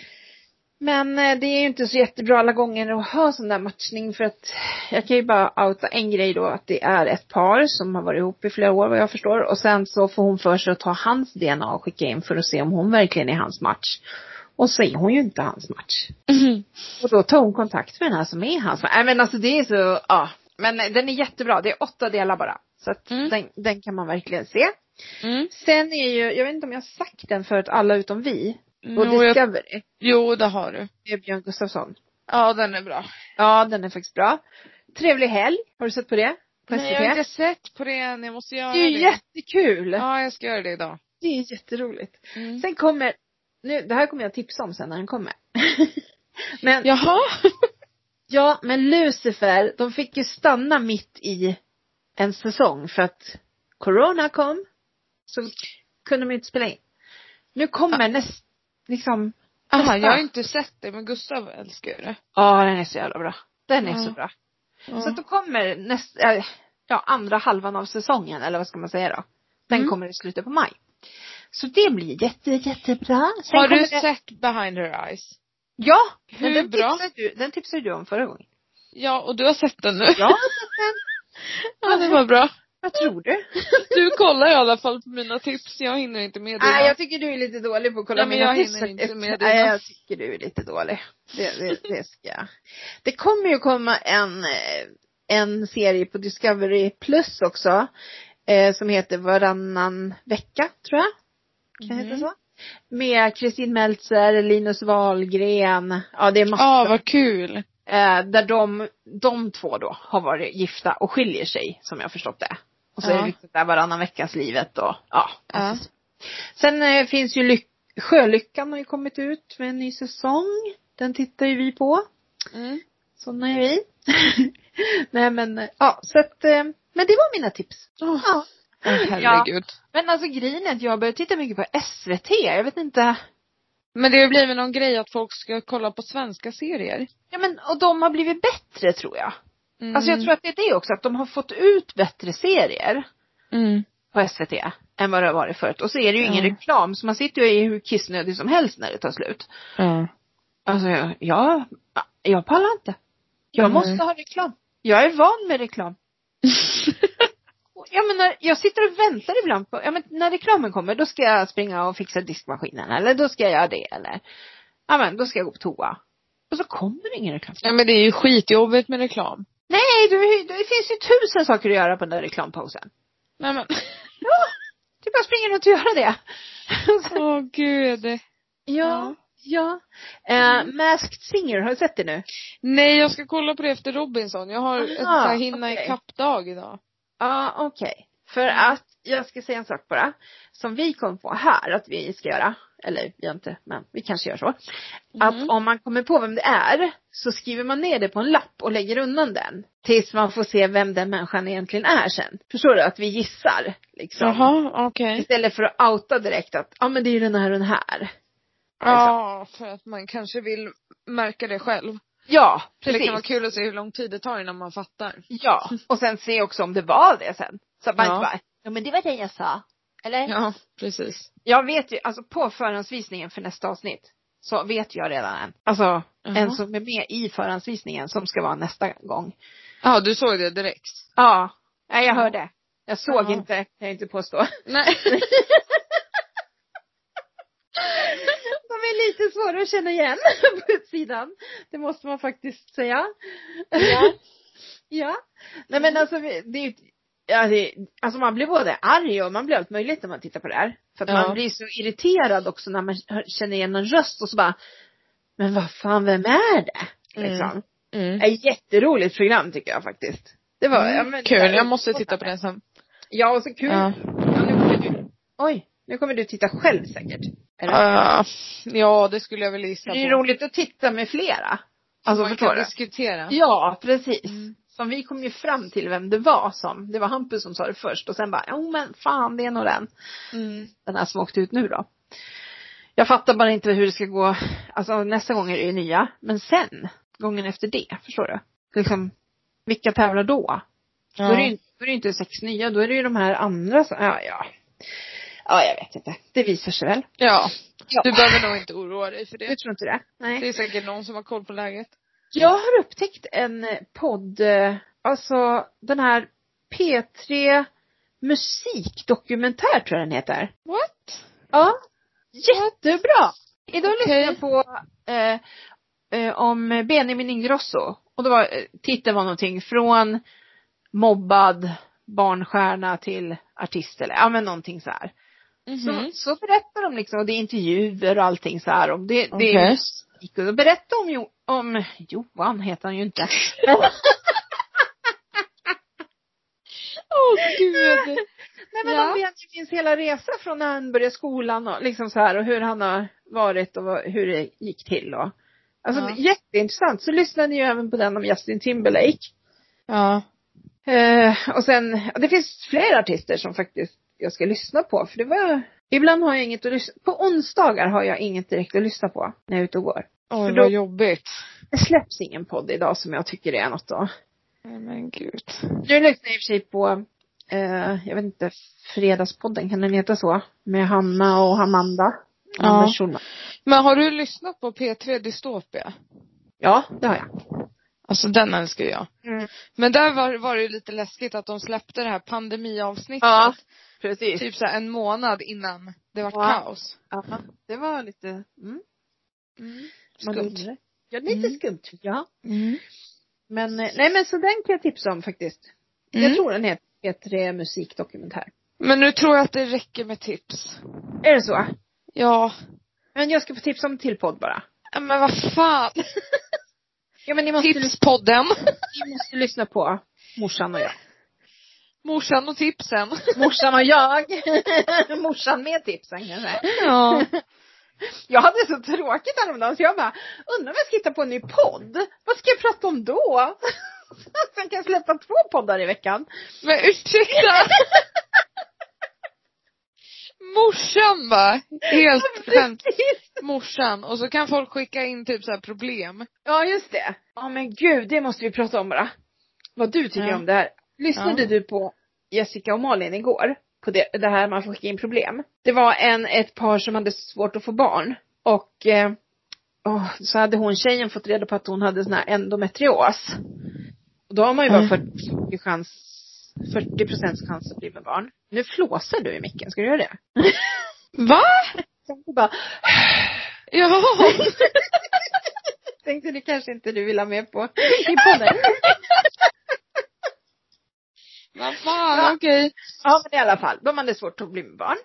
B: Men eh, det är ju inte så jättebra alla gånger att ha sån där matchning för att jag kan ju bara outa en grej då att det är ett par som har varit ihop i flera år vad jag förstår och sen så får hon för sig att ta hans DNA och skicka in för att se om hon verkligen är hans match. Och så är hon ju inte hans match.
A: Mm.
B: Och då tar hon kontakt med den här som är hans match. Nej men alltså det är så, ja. Men eh, den är jättebra, det är åtta delar bara. Så att
A: Mm.
B: den, den kan man verkligen se.
A: Mm.
B: Sen är ju, jag vet inte om jag har sagt den förut, Alla utom vi. Och
A: Jo, jag,
B: Discovery.
A: jo, det har du.
B: Med Björn Gustafsson.
A: Ja, den är bra.
B: Ja, den är faktiskt bra. Trevlig helg. Har du sett på det? På
A: Nej, jag har inte sett på det än. Jag måste göra
B: Det är ju
A: det.
B: jättekul.
A: Ja, jag ska göra det idag.
B: Det är jätteroligt.
A: Mm.
B: Sen kommer, nu, det här kommer jag tipsa om sen när den kommer. men, ja.
A: Jaha.
B: men Lucifer, de fick ju stanna mitt i en säsong för att Corona kom. Så kunde de ju inte spela in. Nu kommer näst, liksom,
A: Aha, jag har inte sett det, men Gustav älskar ju det.
B: ja den är så jävla bra. Den är
A: Ja.
B: så bra.
A: Ja.
B: Så att då kommer nästa, eh, ja andra halvan av säsongen eller vad ska man säga då. Den
A: Mm.
B: kommer i slutet på maj. Så det blir jätte, jättebra. Sen
A: har du
B: kommer det-
A: sett Behind Her Eyes?
B: Ja! men
A: Hur
B: den
A: bra?
B: Tipsade du, den tipsade du om förra gången.
A: Ja, och du har sett den nu?
B: Ja, men
A: ja det var bra.
B: vad tror du?
A: Du kollar i alla fall på mina tips. Jag hinner inte med det.
B: Nej, jag tycker du är lite dålig på att kolla
A: Ja, men
B: mina
A: jag
B: tips
A: hinner inte
B: faktiskt.
A: med
B: Nej,
A: dina.
B: jag tycker du är lite dålig. Det, det, det ska jag. Det kommer ju komma en, eh, en serie på Discovery plus också. Eh, som heter Varannan vecka, tror jag. Kan det heta
A: Mhm.
B: så? Med Kristin Meltzer, Linus Wahlgren. Ja, det är massor.
A: Ja, Ah, vad kul.
B: Eh, där de, de två då har varit gifta och skiljer sig som jag förstått det. Och så
A: Ja.
B: är det liksom där varannan veckas livet och ja.
A: Ja.
B: Sen eh, finns ju lyck, Sjölyckan har ju kommit ut med en ny säsong. Den tittar ju vi på.
A: Mm.
B: Sådana är vi. Nej men eh, ja så att, eh, men det var mina tips.
A: Åh,
B: Ja.
A: åh, herregud.
B: Men alltså grejen är att jag börjar titta mycket på SVT. Jag vet inte.
A: Men det blir väl någon grej att folk ska kolla på svenska serier?
B: Ja men och de har blivit bättre tror jag.
A: Mm.
B: Alltså jag tror att det är det också att de har fått ut bättre serier.
A: Mm.
B: på SVT än vad det har varit förut. Och så är det ju ingen
A: Ja.
B: reklam så man sitter ju och är hur kissnödig som helst när det tar slut.
A: Ja.
B: Alltså jag, jag, jag pallar inte. Jag
A: Mm.
B: måste ha reklam. Jag är van med reklam. Och Jag menar, jag sitter och väntar ibland på, ja men när reklamen kommer då ska jag springa och fixa diskmaskinen eller då ska jag göra det eller, ja men då ska jag gå på toa. Och så kommer det ingen reklam.
A: Nej men det är ju skitjobbigt med reklam.
B: Nej, du, det finns ju tusen saker att göra på den där reklampausen.
A: Nej men,
B: Det är bara att springa runt och göra det.
A: åh gud.
B: Ja, ja. Eh, Masked Singer, har du sett det nu?
A: Nej jag ska kolla på det efter Robinson. Jag har ett så
B: Aha,
A: här hinna
B: okej.
A: ikapp-dag idag.
B: Ja, okej. För att, jag ska säga en sak bara. Som vi kom på här att vi ska göra. Eller vi har inte, men vi kanske gör så. Att
A: Mm.
B: om man kommer på vem det är så skriver man ner det på en lapp och lägger undan den. Tills man får se vem den människan egentligen är sen. Förstår du? Att vi gissar liksom.
A: Jaha, okej.
B: Istället för att outa direkt att, ja ah, men det är ju den här och den här.
A: Ja, för att man kanske vill märka det själv.
B: Ja,
A: För
B: precis.
A: Det kan vara kul att se hur lång tid det tar innan man fattar.
B: Ja, och sen se också om det var det sen. Så att man
A: Ja.
B: inte bara, ja men det var det jag sa. Eller?
A: Ja, precis.
B: Jag vet ju, alltså på förhandsvisningen för nästa avsnitt så vet jag redan en. Alltså en som är med i förhandsvisningen som ska vara nästa gång.
A: Ja, du såg det direkt.
B: Ja, nej jag hörde. Jag såg
A: Jaha.
B: inte, kan jag inte påstå.
A: Nej.
B: De är lite svåra att känna igen på utsidan. Det måste man faktiskt säga.
A: Ja.
B: Ja. Nej men alltså vi- det är ju, ja, det, alltså man blir både arg och man blir allt möjligt när man tittar på det här. För att
A: Ja.
B: man blir så irriterad också när man hör- känner igen en röst och så bara, men vad fan vem är det? Liksom.
A: Mm. Mm.
B: Ett jätteroligt program tycker jag faktiskt. Det var, ja, men,
A: Kul, jag måste titta på den sen.
B: Ja och så kul.
A: Ja.
B: Ja, nu kommer du, oj, nu kommer du titta själv säkert. Eller?
A: Ah, ja, det skulle jag väl gissa
B: Det är ju
A: på.
B: roligt att titta med flera. Alltså
A: man
B: förstår
A: kan
B: du?
A: diskutera.
B: Ja, precis.
A: Mm.
B: Som vi kom ju fram till vem det var som, det var Hampus som sa det först och sen bara, jo men fan det är nog den.
A: Mm.
B: Den här som åkte ut nu då. Jag fattar bara inte hur det ska gå, alltså nästa gång är det ju nya, men sen, gången efter det, förstår du? Liksom, vilka tävlar då? Då, är det ju, då är det ju inte sex nya, då är det ju de här andra som, ja ja. Ja, jag vet inte. Det visar sig väl.
A: Ja.
B: Ja.
A: Du behöver nog inte oroa dig för det.
B: Du tror inte det? Nej.
A: Det är säkert någon som har koll på läget.
B: Jag har upptäckt en eh, podd, eh, alltså den här P3 musikdokumentär tror jag den heter.
A: What?
B: Ja. Jättebra! Idag
A: Okej.
B: lyssnade jag på eh, eh, om Benjamin Ingrosso. Och det var, eh, titeln var någonting från mobbad barnstjärna till artist eller ja men någonting så här.
A: Mhm. Mm.
B: Så, så berättar de liksom, och det är intervjuer och allting så här. Om det, det är
A: Okej.
B: musik. Och då berättar om, jo, om Johan heter han ju inte.
A: Åh gud.
B: Nej men
A: Ja.
B: om Benjamin minns hela resa från när han började skolan och liksom så här och hur han har varit och vad, hur det gick till och. Alltså
A: Ja.
B: jätteintressant. Så lyssnade ni ju även på den om Justin Timberlake.
A: Ja.
B: Eh, och sen, ja, det finns fler artister som faktiskt jag ska lyssna på för det var, ibland har jag inget att lyssna, på onsdagar har jag inget direkt att lyssna på när jag är ute och går.
A: Oj
B: För då-
A: vad jobbigt.
B: Det släpps ingen podd idag som jag tycker är något då.
A: Nej men gud.
B: Nu lyssnar jag i och för sig på, eh, jag vet inte, Fredagspodden, kan den heta så? Med Hanna och Amanda.
A: Ja.
B: Anders Schulman.
A: Men har du lyssnat på P3 Dystopia?
B: Ja, det har jag.
A: Alltså den älskar jag.
B: Mm.
A: Men där var, var det ju lite läskigt att de släppte det här pandemiavsnittet.
B: Ja, Precis.
A: Typ så här en månad innan det var
B: Ja.
A: kaos.
B: Ja, det var lite, mm,
A: Mm.
B: skumt. Ja, lite
A: Mm.
B: skumt. Ja.
A: Mm.
B: Men, eh, nej men så den kan jag tipsa om faktiskt.
A: Mm.
B: Jag tror den heter P3 musikdokumentär.
A: Men nu tror jag att det räcker med tips.
B: Är det så?
A: Ja.
B: Men jag ska få tipsa om en till podd bara.
A: Ja, Men vad fan.
B: Ja men ni måste,
A: Tipspodden.
B: ni måste lyssna på morsan och jag.
A: Morsan och tipsen.
B: Morsan och jag. morsan med tipsen kanske.
A: Ja.
B: Jag hade så tråkigt häromdagen så jag bara, undrar om jag ska hitta på en ny podd? Vad ska jag prata om då? Sen kan jag släppa två poddar i veckan.
A: Men ursäkta. Morsan va? Helt skämt. Morsan. Och så kan folk skicka in typ så här problem.
B: Ja, just det. Ja men gud, det måste vi prata om bara. Vad du tycker
A: Ja.
B: om det här. Lyssnade
A: Ja.
B: du på Jessica och Malin igår? På det, det här man får skicka in problem. Det var en, ett par som hade svårt att få barn. Och eh, åh, så hade hon tjejen fått reda på att hon hade sån här endometrios. Och då har man ju bara
A: Mm.
B: 40 chans, 40 procents chans att bli med barn. Nu flåsar du i micken, ska du göra det?
A: Va?
B: Jag bara,
A: Ja.
B: tänkte det kanske inte du vill ha med på i podden.
A: Vad fan,
B: Ja.
A: okej.
B: Ja men i alla fall, de hade svårt att bli med barn.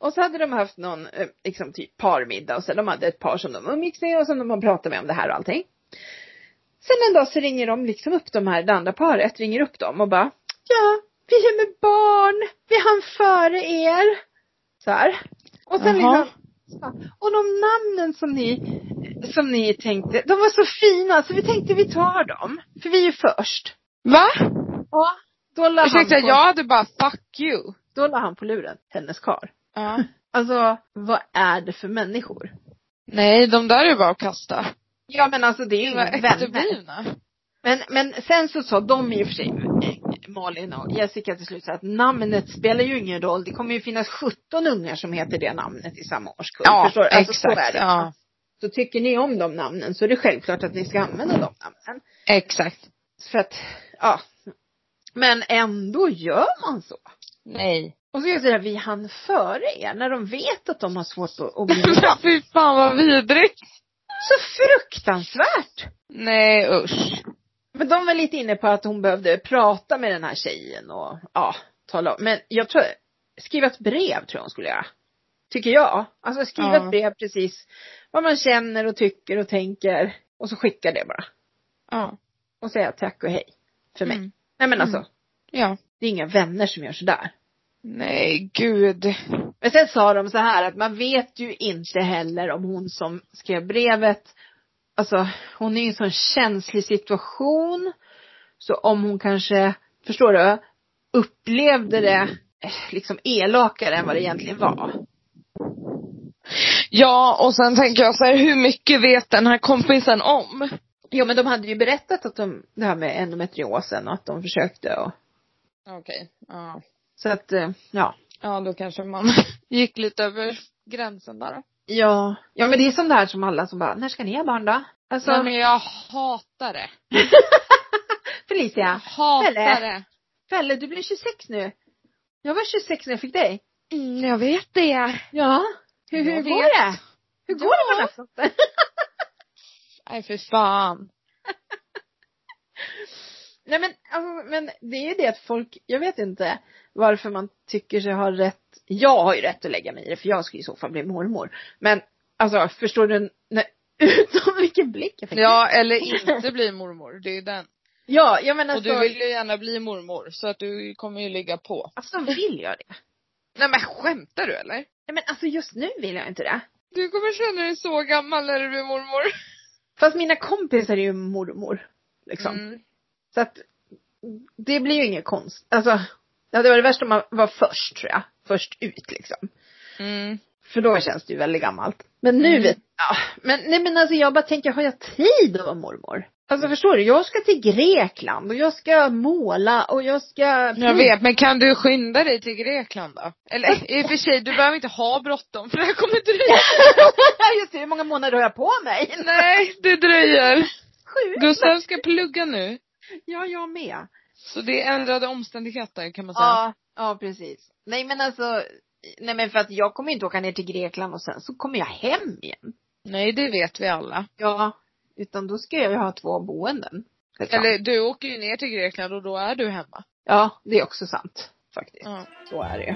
B: Och så hade de haft någon, eh, liksom typ parmiddag och så de hade ett par som de umgicks med och som de har pratat med om det här och allting. Sen en dag så ringer de liksom upp de här, det andra paret ringer upp dem och bara Ja, vi är med barn, vi hann före er. Så här. Och sen
A: Jaha.
B: liksom och de namnen som ni, som ni tänkte, de var så fina så vi tänkte vi tar dem. För vi är ju först.
A: Va?
B: Ja. Då la, han på,
A: Ursäkta, jag hade bara fuck you.
B: då la han på luren, hennes kar.
A: Ja.
B: Alltså, vad är det för människor?
A: Nej, de där är bara att kasta.
B: Ja men alltså det är ju
A: De var
B: inga vänner.
A: efterblivna.
B: Men, men sen så sa de i och för sig, eh, Malin och Jessica till slut så att namnet spelar ju ingen roll. Det kommer ju finnas 17 ungar som heter det namnet i samma årskull. Förstår du? Alltså, Så, är det.
A: Ja,
B: så tycker ni om de namnen så är det självklart att ni ska använda de namnen.
A: exakt.
B: För att, ja. Men ändå gör man så.
A: Nej.
B: Och så är det så här, vi hann före er när de vet att de har svårt att, att bli bra.
A: Men Fy fan vad vidrigt.
B: Så fruktansvärt!
A: Nej usch.
B: Men de var lite inne på att hon behövde prata med den här tjejen och ja, tala om. Men jag tror, skriva ett brev tror jag hon skulle göra. Tycker jag. Alltså skriva
A: Ja.
B: ett brev precis vad man känner och tycker och tänker. Och så skicka det bara.
A: Ja.
B: Och säga tack och hej. För mig.
A: Mm.
B: Nej men alltså,
A: Ja.
B: det är inga vänner som gör sådär.
A: Nej gud.
B: Men sen sa de så här att man vet ju inte heller om hon som skrev brevet, alltså hon är ju i en sån känslig situation. Så om hon kanske, förstår du, upplevde det eh, liksom elakare än vad det egentligen var.
A: Ja och sen tänker jag så här, hur mycket vet den här kompisen om?
B: Jo men de hade ju berättat att de, det här med endometriosen och att de försökte och
A: Okej. Ja.
B: så att, eh, ja.
A: Ja, då kanske man gick lite över gränsen där.
B: Ja. Ja men det är sånt där som alla som bara, när ska ni ha barn då? Alltså,
A: Nej, men jag hatar det. Jag
B: Felicia.
A: hatar
B: Eller?
A: det.
B: Pelle, du blir 26 nu. Jag var 26 när jag fick dig.
A: Mm, jag vet det.
B: Ja. Hur, hur
A: Jag
B: går
A: vet.
B: det? Hur går det med nattlotten?
A: Nej, för fan.
B: Nej men, alltså, men det är ju det att folk, jag vet inte varför man tycker sig ha rätt. Jag har ju rätt att lägga mig i det för jag skulle i så fall bli mormor. Men alltså förstår du när, utom vilken blick jag fick?
A: Ja, eller inte bli mormor. Det är ju den.
B: ja jag menar
A: Och
B: så,
A: du vill ju gärna bli mormor, så att du kommer ju ligga på.
B: alltså vill jag det?
A: Nej men skämtar du eller?
B: Nej men alltså just nu vill jag inte det.
A: Du kommer känna dig så gammal när du blir mormor.
B: Fast mina kompisar är ju mormor. Liksom.
A: Mm.
B: Så att det blir ju inget konst. Alltså, det hade varit värst om man var först tror jag. Först ut liksom.
A: Mm.
B: För då känns det ju väldigt gammalt. Men nu
A: Mm.
B: vet ja, men, nej men alltså jag bara tänker, har jag tid att vara mormor? Alltså förstår du, jag ska till Grekland och jag ska måla och jag ska
A: Jag vet, men kan du skynda dig till Grekland då? Eller i och för sig, du behöver inte ha bråttom för det här kommer dröja.
B: Just det, hur många månader har jag på mig?
A: Nej, det dröjer.
B: Sju?
A: Gustav ska plugga nu.
B: Ja, jag med.
A: Så det är ändrade omständigheter kan man säga.
B: Ja, ja precis. Nej men alltså, nej men för att jag kommer ju inte åka ner till Grekland och sen så kommer jag hem igen.
A: Nej, det vet vi alla.
B: Ja, utan då ska jag ju ha två boenden. Liksom.
A: Eller du åker ju ner till Grekland och då är du hemma.
B: Ja, det är också sant. Faktiskt.
A: Ja.
B: Så är det ju.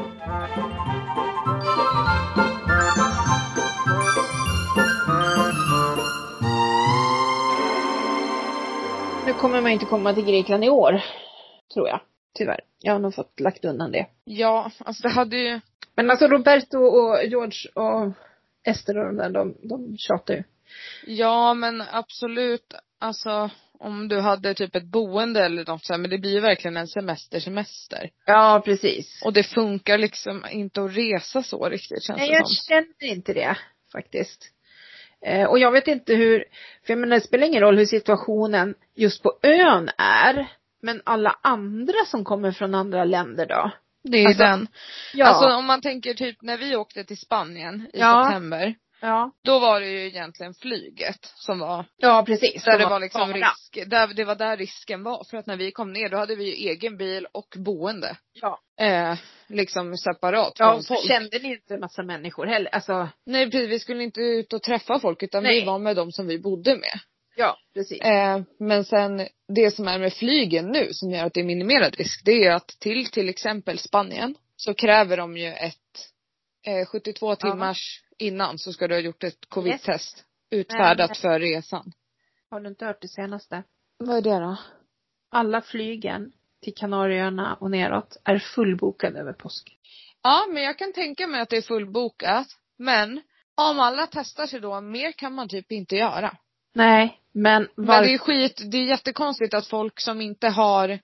B: Nu kommer man ju inte komma till Grekland i år. Tror jag. Tyvärr. Jag har nog fått lagt undan det.
A: Ja, alltså det hade ju,
B: Men alltså Roberto och George och Ester och de där, de, de tjatar ju.
A: ja men absolut, alltså om du hade typ ett boende eller något så här, men det blir ju verkligen en semester, semester.
B: Ja, precis.
A: Och det funkar liksom inte att resa så riktigt känns
B: Nej,
A: det
B: jag
A: som.
B: känner inte det faktiskt. Eh, och jag vet inte hur, för jag menar det spelar ingen roll hur situationen just på ön är. Men alla andra som kommer från andra länder då?
A: Det är ju
B: Alltså,
A: den.
B: Ja.
A: Alltså om man tänker typ när vi åkte till Spanien i
B: Ja.
A: september.
B: ja.
A: Då var det ju egentligen flyget som var,
B: ja, precis.
A: där
B: De
A: det
B: har
A: var liksom
B: bara-
A: risk, där, det var där risken var. För att när vi kom ner då hade vi ju egen bil och boende.
B: Ja.
A: Eh, liksom separat
B: Ja,
A: från
B: och så
A: folk.
B: kände ni inte en massa människor heller. Alltså,
A: Nej precis, vi skulle inte ut och träffa folk utan
B: Nej.
A: vi var med de som vi bodde med.
B: ja, precis.
A: Eh, men sen det som är med flygen nu som gör att det är minimerad risk det är ju att till till exempel Spanien så kräver de ju ett eh, 72 timmars innan så ska du ha gjort ett covid-test utfärdat
B: Men-
A: för resan.
B: Har du inte hört det senaste?
A: Vad är det då?
B: Alla flygen till Kanarieöarna och neråt är fullbokade över påsk.
A: Ja men jag kan tänka mig att det är fullbokat men om alla testar sig då, mer kan man typ inte göra.
B: Nej, men
A: Men
B: varför?
A: det är skit, det är jättekonstigt att folk som inte har jag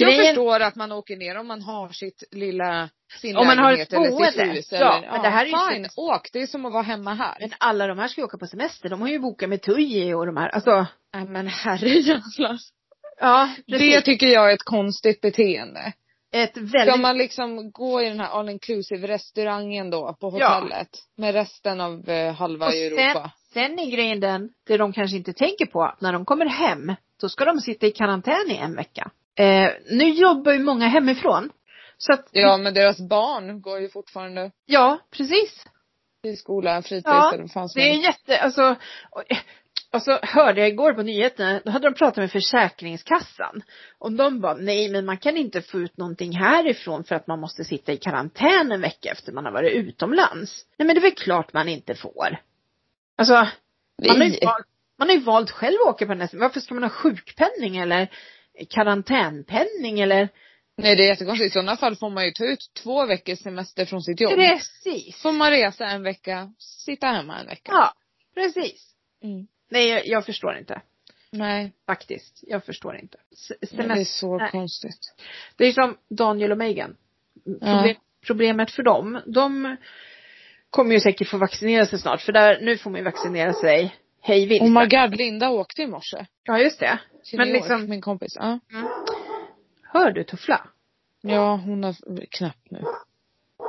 B: Grejen-
A: förstår att man åker ner om man har sitt lilla, sin
B: Om man har
A: lägenhet
B: ett
A: eller sitt
B: boende.
A: hus.
B: Ja,
A: eller,
B: men det här är ju
A: fine,
B: så-
A: åk. Det är som att vara hemma här.
B: Men alla de här ska ju åka på semester. De har ju bokat med Tui och de här. Alltså.
A: Nej men herrejävlar.
B: Ja,
A: Det tycker jag är ett konstigt beteende.
B: Ett
A: Ska
B: väldigt...
A: man liksom gå i den här all inclusive restaurangen då på
B: Ja.
A: hotellet? Med resten av eh, halva
B: Och sen,
A: Europa.
B: sen är grejen den, det de kanske inte tänker på, att när de kommer hem, då ska de sitta i karantän i en vecka. Eh, nu jobbar ju många hemifrån. Så att,
A: Ja men deras barn går ju fortfarande
B: ja, precis.
A: i skola, fritids
B: Ja,
A: eller vad fan som
B: Det är
A: helst.
B: en jätte, alltså, och, och så hörde jag igår på nyheterna, då hade de pratat med Försäkringskassan. Och de bara, nej men man kan inte få ut någonting härifrån för att man måste sitta i karantän en vecka efter man har varit utomlands. Nej men det är väl klart man inte får. Alltså, man har ju
A: Nej.
B: valt, man har ju valt själv att åka på nästa, varför ska man ha sjukpenning eller karantänpenning eller?
A: Nej det är jättekonstigt. I sådana fall får man ju ta ut två veckors semester från sitt jobb.
B: Precis.
A: Får man resa en vecka, sitta hemma en vecka.
B: Ja, precis.
A: Mm.
B: Nej, jag, jag förstår inte.
A: Nej,
B: Faktiskt. Jag förstår inte. S-
A: men det är
B: semester-
A: så
B: Nej.
A: konstigt.
B: Det är som Daniel och Megan. Proble- Problemet för dem, de kommer ju säkert få vaccinera sig snart för där, nu får man ju vaccinera sig hej vilt.
A: Oh my god, Linda åkte i morse.
B: Ja just det.
A: Till
B: Men
A: New York,
B: liksom-
A: min kompis. Ja.
B: Hör du Tuffla?
A: ja, hon har knappt nu.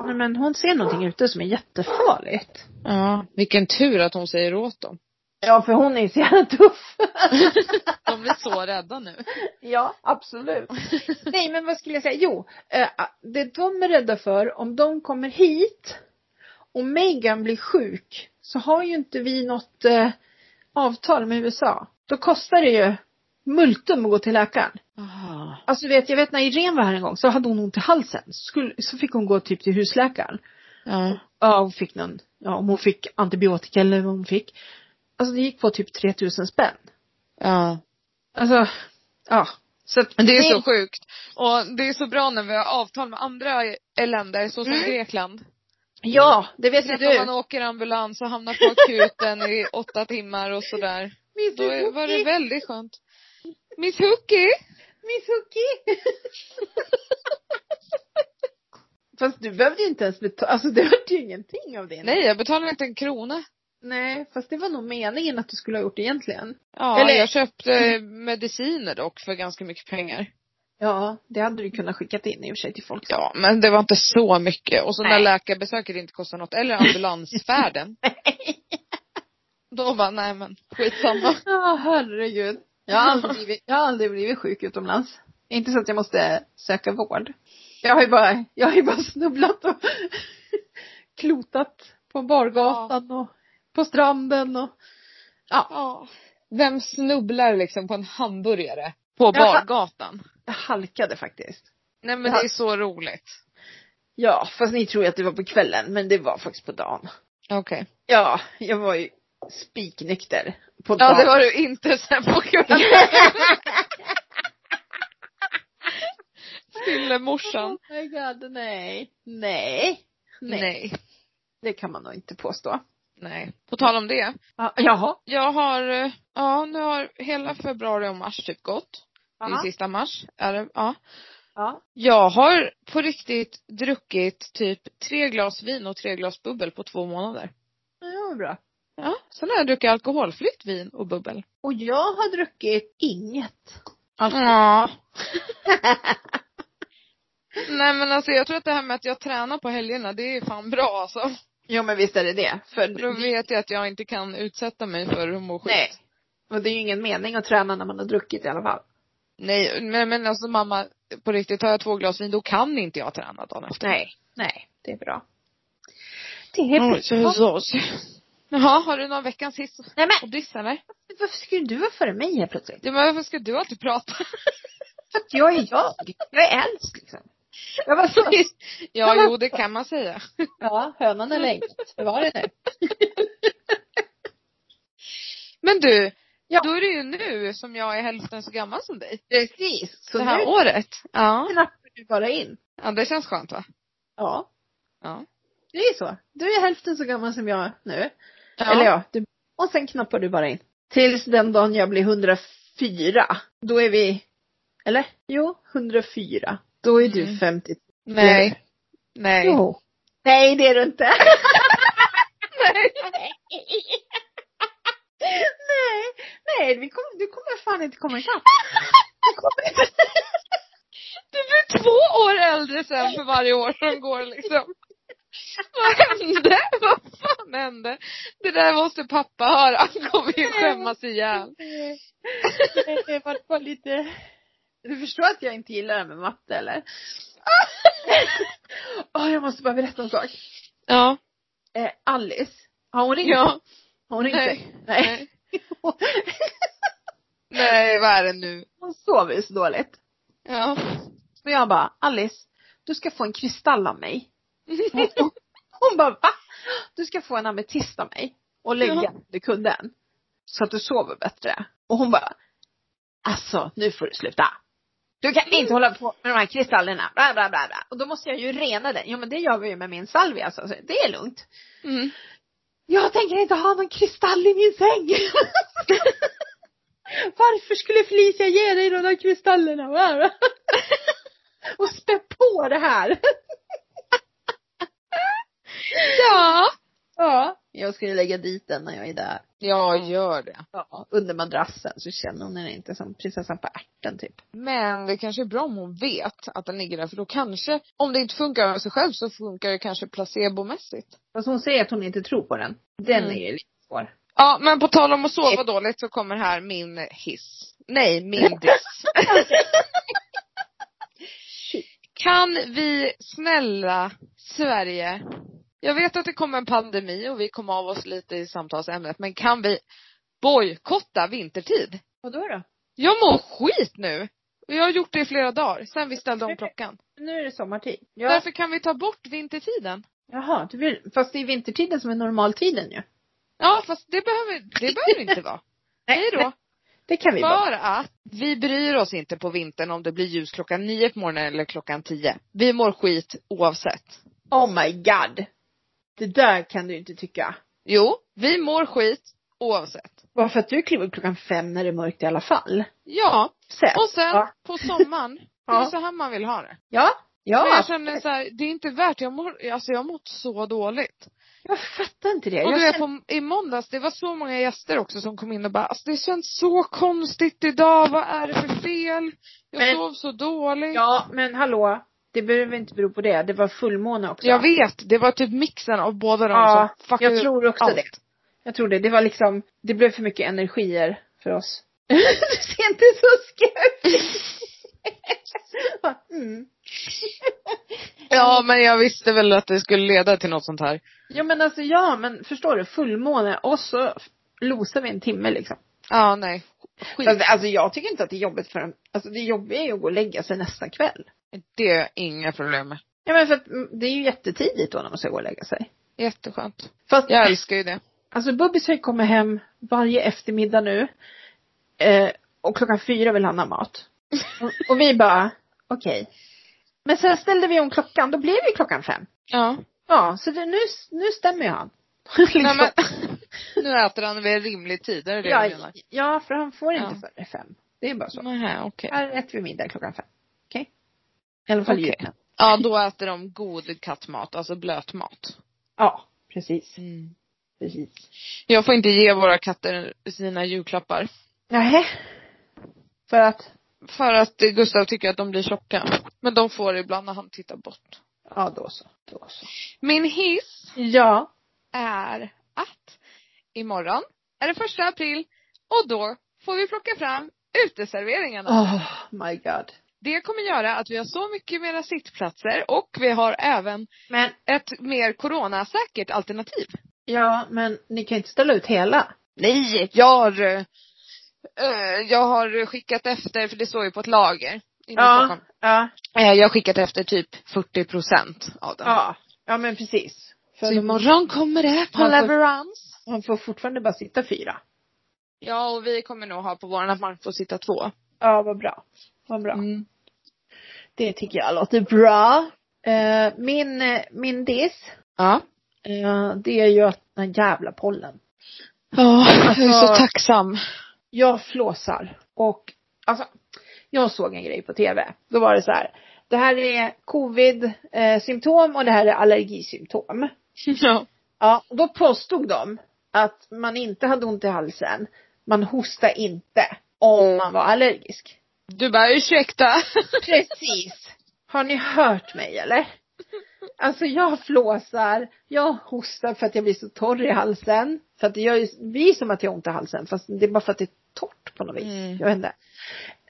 B: Nej, men hon ser någonting ute som är jättefarligt.
A: Ja, vilken tur att hon säger åt dem.
C: Ja, för hon är ju så jävla tuff.
A: De blir så rädda nu.
C: ja, absolut.
B: Nej men vad skulle jag säga? Jo, eh, det de är rädda för, om de kommer hit och Megan blir sjuk så har ju inte vi något eh, avtal med USA. Då kostar det ju multum att gå till läkaren.
A: Ah.
B: Alltså du vet, jag vet när Irene var här en gång så hade hon ont i halsen. Skulle, så fick hon gå typ till husläkaren.
A: Ja.
B: Ja, hon fick någon, ja om hon fick antibiotika eller vad hon fick. Alltså det gick på typ 3000 spänn.
A: Ja.
B: Alltså, ja. Så att,
A: Men det är
B: Nej.
A: så sjukt. Och det är så bra när vi har avtal med andra länder, så som
B: Mm.
A: Grekland.
B: Ja, det vet ju
A: När
B: du.
A: man åker ambulans och hamnar på akuten i åtta timmar och sådär.
B: Miss
A: Då är, var det
B: Hookie,
A: väldigt skönt. Miss Hookie!
B: Miss Hookie! Fast du behövde ju inte ens betala, alltså det var ju ingenting av det.
A: Nej, jag betalar inte en krona.
B: Nej, fast det var nog meningen att du skulle ha gjort egentligen.
A: Ja,
B: Eller-
A: jag köpte mediciner dock för ganska mycket pengar.
B: Ja, det hade du kunnat skickat in i och för sig till folk.
A: Ja, men det var inte så mycket. Och så när
B: Nej.
A: läkarbesöket inte kostar något, eller ambulansfärden. då bara, nej men skitsamma.
B: Ja, herregud. Jag har, aldrig blivit, jag har aldrig blivit sjuk utomlands. Inte så att jag måste söka vård. Jag har ju bara, jag har ju bara snubblat och klotat på bargatan och på stranden och
A: Ja. Vem snubblar liksom på en hamburgare? På bargatan.
B: jag halkade faktiskt.
A: Nej men
B: Ja.
A: det är så roligt.
B: Ja, fast ni tror ju att det var på kvällen, men det var faktiskt på dagen.
A: Okej.
B: Ja, jag var ju spiknykter på dagen.
A: Ja det var du inte sen på kvällen. Fyllemorsan.
B: Oh my god, nej. Nej. Nej.
A: Nej.
B: Det kan man nog inte påstå.
A: Nej. På tal om det.
B: Ja, jaha.
A: Jag har, eh, ja nu har hela februari och mars typ gått. Det är
B: Aha.
A: sista mars. Är det, ja.
B: Ja.
A: Jag har på riktigt druckit typ tre glas vin och tre glas bubbel på två månader.
B: Ja, det var bra.
A: Ja. Sen har jag druckit alkoholfritt vin och bubbel.
B: Och jag har druckit inget.
A: Ja. Nej men alltså jag tror att det här med att jag tränar på helgerna, det är fan bra alltså.
B: Ja men visst är det det. För
A: Då vet jag att jag inte kan utsätta mig för att må skit.
B: Nej. Och det är ju ingen mening att träna när man har druckit i alla fall.
A: Nej, men, men alltså mamma, på riktigt, har jag två glas vin då kan inte jag träna dagen efter.
B: Nej. Nej, det är bra. Det är bra.
A: så. Jaha, har du någon veckans hiss
B: Nej men
A: och diss eller?
B: varför skulle du vara före mig här plötsligt?
A: Ja men varför ska du alltid prata?
B: För att jag är jag. Jag är äldst liksom. Jag var så.
A: Ja, jo det kan man säga.
B: Ja, hönan eller ägget. Hur var det nu?
A: Men du,
B: Ja.
A: då är det ju nu som jag är hälften så gammal som dig.
B: Precis. Så
A: det
B: nu
A: här året. Ja.
B: knappar du bara in.
A: Ja, det känns skönt va?
B: Ja.
A: Ja.
B: Det är ju så. Du är hälften så gammal som jag nu.
A: Ja.
B: Eller ja, du, och sen knappar du bara in. Tills den dagen jag blir 104. Då är vi, eller? Jo, 104. Då är du
A: Mm.
B: 50.
A: Nej. Nej.
B: Jo. Nej, det är du inte.
A: Nej.
B: nej, nej, vi kom, du kommer fan inte komma ikapp. Du kommer-
A: Du blir två år äldre sen för varje år som går liksom. Vad hände? Vad fan hände? Det där måste pappa höra. Han kommer ju skämmas ihjäl.
B: Nej, det var bara lite... Du förstår att jag inte gillar det här med matte eller? Åh, jag måste bara berätta en sak.
A: Ja.
B: Eh, Alice, har hon ringt?
A: Ja.
B: Har hon ringt? dig?
A: Nej.
B: Nej.
A: Nej. Nej, vad är det nu?
B: Hon sover ju så dåligt.
A: Ja.
B: Så jag bara, Alice, du ska få en kristall av mig. Hon, hon bara, va? Du ska få en ametist av mig. Och lägga
A: Ja.
B: under kudden. Så att du sover bättre. Och hon bara, alltså nu får du sluta. Du kan inte hålla på med de här kristallerna, bla bla bla bla. Och då måste jag ju rena den. Jo men det gör vi ju med min salvia så så det är lugnt.
A: Mm.
B: Jag tänker inte ha någon kristall i min säng. Varför skulle Felicia ge dig de där kristallerna? Och spä på det här.
A: Ja.
B: Ja.
D: Jag ska ju lägga dit den när jag är där.
A: Ja, gör det.
D: Ja, under madrassen så känner hon den inte som prinsessan på ärten typ.
A: Men det kanske är bra om hon vet att den ligger där för då kanske, om det inte funkar av sig själv så funkar det kanske placebomässigt.
B: Fast hon säger att hon inte tror på den. Den
A: Mm.
B: är ju lite svår.
A: Ja, men på tal om att sova dåligt så kommer här min hiss. Nej, min diss. kan vi snälla Sverige, jag vet att det kommer en pandemi och vi kom av oss lite i samtalsämnet, men kan vi bojkotta vintertid?
B: Vadå då?
A: Jag mår skit nu! Och jag har gjort det i flera dagar, sen vi ställde om klockan.
B: Nu är det sommartid. Ja.
A: Därför kan vi ta bort vintertiden.
B: Jaha, du vill, fast det är vintertiden som är normaltiden ju.
A: Ja, fast det behöver, det behöver inte vara. Hej då.
B: Det kan vi vara.
A: För att vi bryr oss inte på vintern om det blir ljus klockan nio på morgonen eller klockan tio. Vi mår skit oavsett.
D: Oh my god! Det där kan du inte tycka.
A: Jo, vi mår skit oavsett.
D: Bara för att du kliver upp klockan fem när det är mörkt i alla fall.
A: Ja,
D: Sen.
A: och sen
D: Ja.
A: på sommaren, det är
D: Ja.
A: så här man vill ha det.
D: Ja. Ja.
A: Men jag känner så här, det är inte värt, jag mår, alltså jag har mått så dåligt.
D: Jag fattar inte det.
A: Och
D: jag
A: du vet
D: känner-
A: på, i måndags, det var så många gäster också som kom in och bara, alltså det känns så konstigt idag, vad är det för fel? Jag
B: Men-
A: sov så dåligt.
B: Ja, men hallå. Det behöver inte bero på det. Det var fullmåne också.
A: Jag vet, det var typ mixen av båda de
B: Ja,
A: som fuckade
B: jag
A: upp
B: tror också
A: allt.
B: det. Jag tror det. Det var liksom, det blev för mycket energier för oss. du ser inte så skeptisk mm.
A: Ja, men jag visste väl att det skulle leda till något sånt här.
B: Ja men alltså ja, men förstår du? Fullmåne och så losar vi en timme liksom.
A: Ja, nej.
D: Fast, alltså jag tycker inte att det är jobbigt för en, alltså det jobbiga är ju att gå och lägga sig nästa kväll.
A: Det är inga problem med.
D: Ja men för att mm, det är ju jättetidigt då när man ska gå och lägga sig.
A: Jätteskönt.
D: Fast
A: Jag älskar ju det.
B: Alltså Bubbis har ju kommit hem varje eftermiddag nu. Eh, och klockan fyra vill han ha mat. Och, och vi bara, okej. Men sen ställde vi om klockan, då blev det klockan fem.
A: Ja.
B: Ja, så det, nu, nu stämmer ju han.
A: Nej,
B: liksom.
A: men, nu äter han vid en rimlig tid, är det det du
B: ja,
A: menar?
B: ja, för han får
A: Ja.
B: inte före fem. Det är bara så.
A: Nej, okej.
B: Här äter vi middag klockan fem. Okej? I alla fall
A: Okej.
B: julen.
A: Ja, då äter de god kattmat, alltså blötmat.
B: Ja, precis.
A: Mm.
B: Precis.
A: Jag får inte ge våra katter sina julklappar.
B: Nej. För att,
A: För att eh, Gustav tycker att de blir tjocka. Men de får det ibland när han tittar bort.
B: ja då så. Då så.
A: Min hiss
B: Ja.
A: är att imorgon är det första april och då får vi plocka fram uteserveringarna.
B: Oh my god.
A: Det kommer göra att vi har så mycket mera sittplatser och vi har även
B: Men
A: ett mer coronasäkert alternativ.
B: Ja, men ni kan ju inte ställa ut hela.
A: Nej, jag har, eh, jag har skickat efter, för det står ju på ett lager. inne i Stockholm.
B: ja,
A: Eh, Jag har skickat efter typ 40 procent av den.
B: ja. Ja, men precis. För
A: Så
B: de-
A: imorgon kommer det på
B: Man får-
A: leverans.
B: man får fortfarande bara sitta fyra.
A: Ja, och vi kommer nog ha på våran att man får sitta två.
B: Ja, vad bra. Vad bra.
A: Mm.
B: Det tycker jag låter bra. Eh, min, eh, min diss,
A: Ja.
B: eh, det är ju att den jävla pollen.
A: Ja, jag är så
B: Alltså-
A: tacksam.
B: Jag flåsar. Och alltså, jag såg en grej på tv. Då var det så här. Det här är covid-symptom och det här är allergisymptom.
A: Ja.
B: Ja, och då påstod de att man inte hade ont i halsen. Man hostade inte om man var allergisk.
A: Du bara, ursäkta.
B: Precis. Har ni hört mig eller? Alltså jag flåsar, jag hostar för att jag blir så torr i halsen. För att det gör ju, det blir som att jag har ont i halsen fast det är bara för att det är torrt på något vis.
A: Mm.
B: Jag vet inte.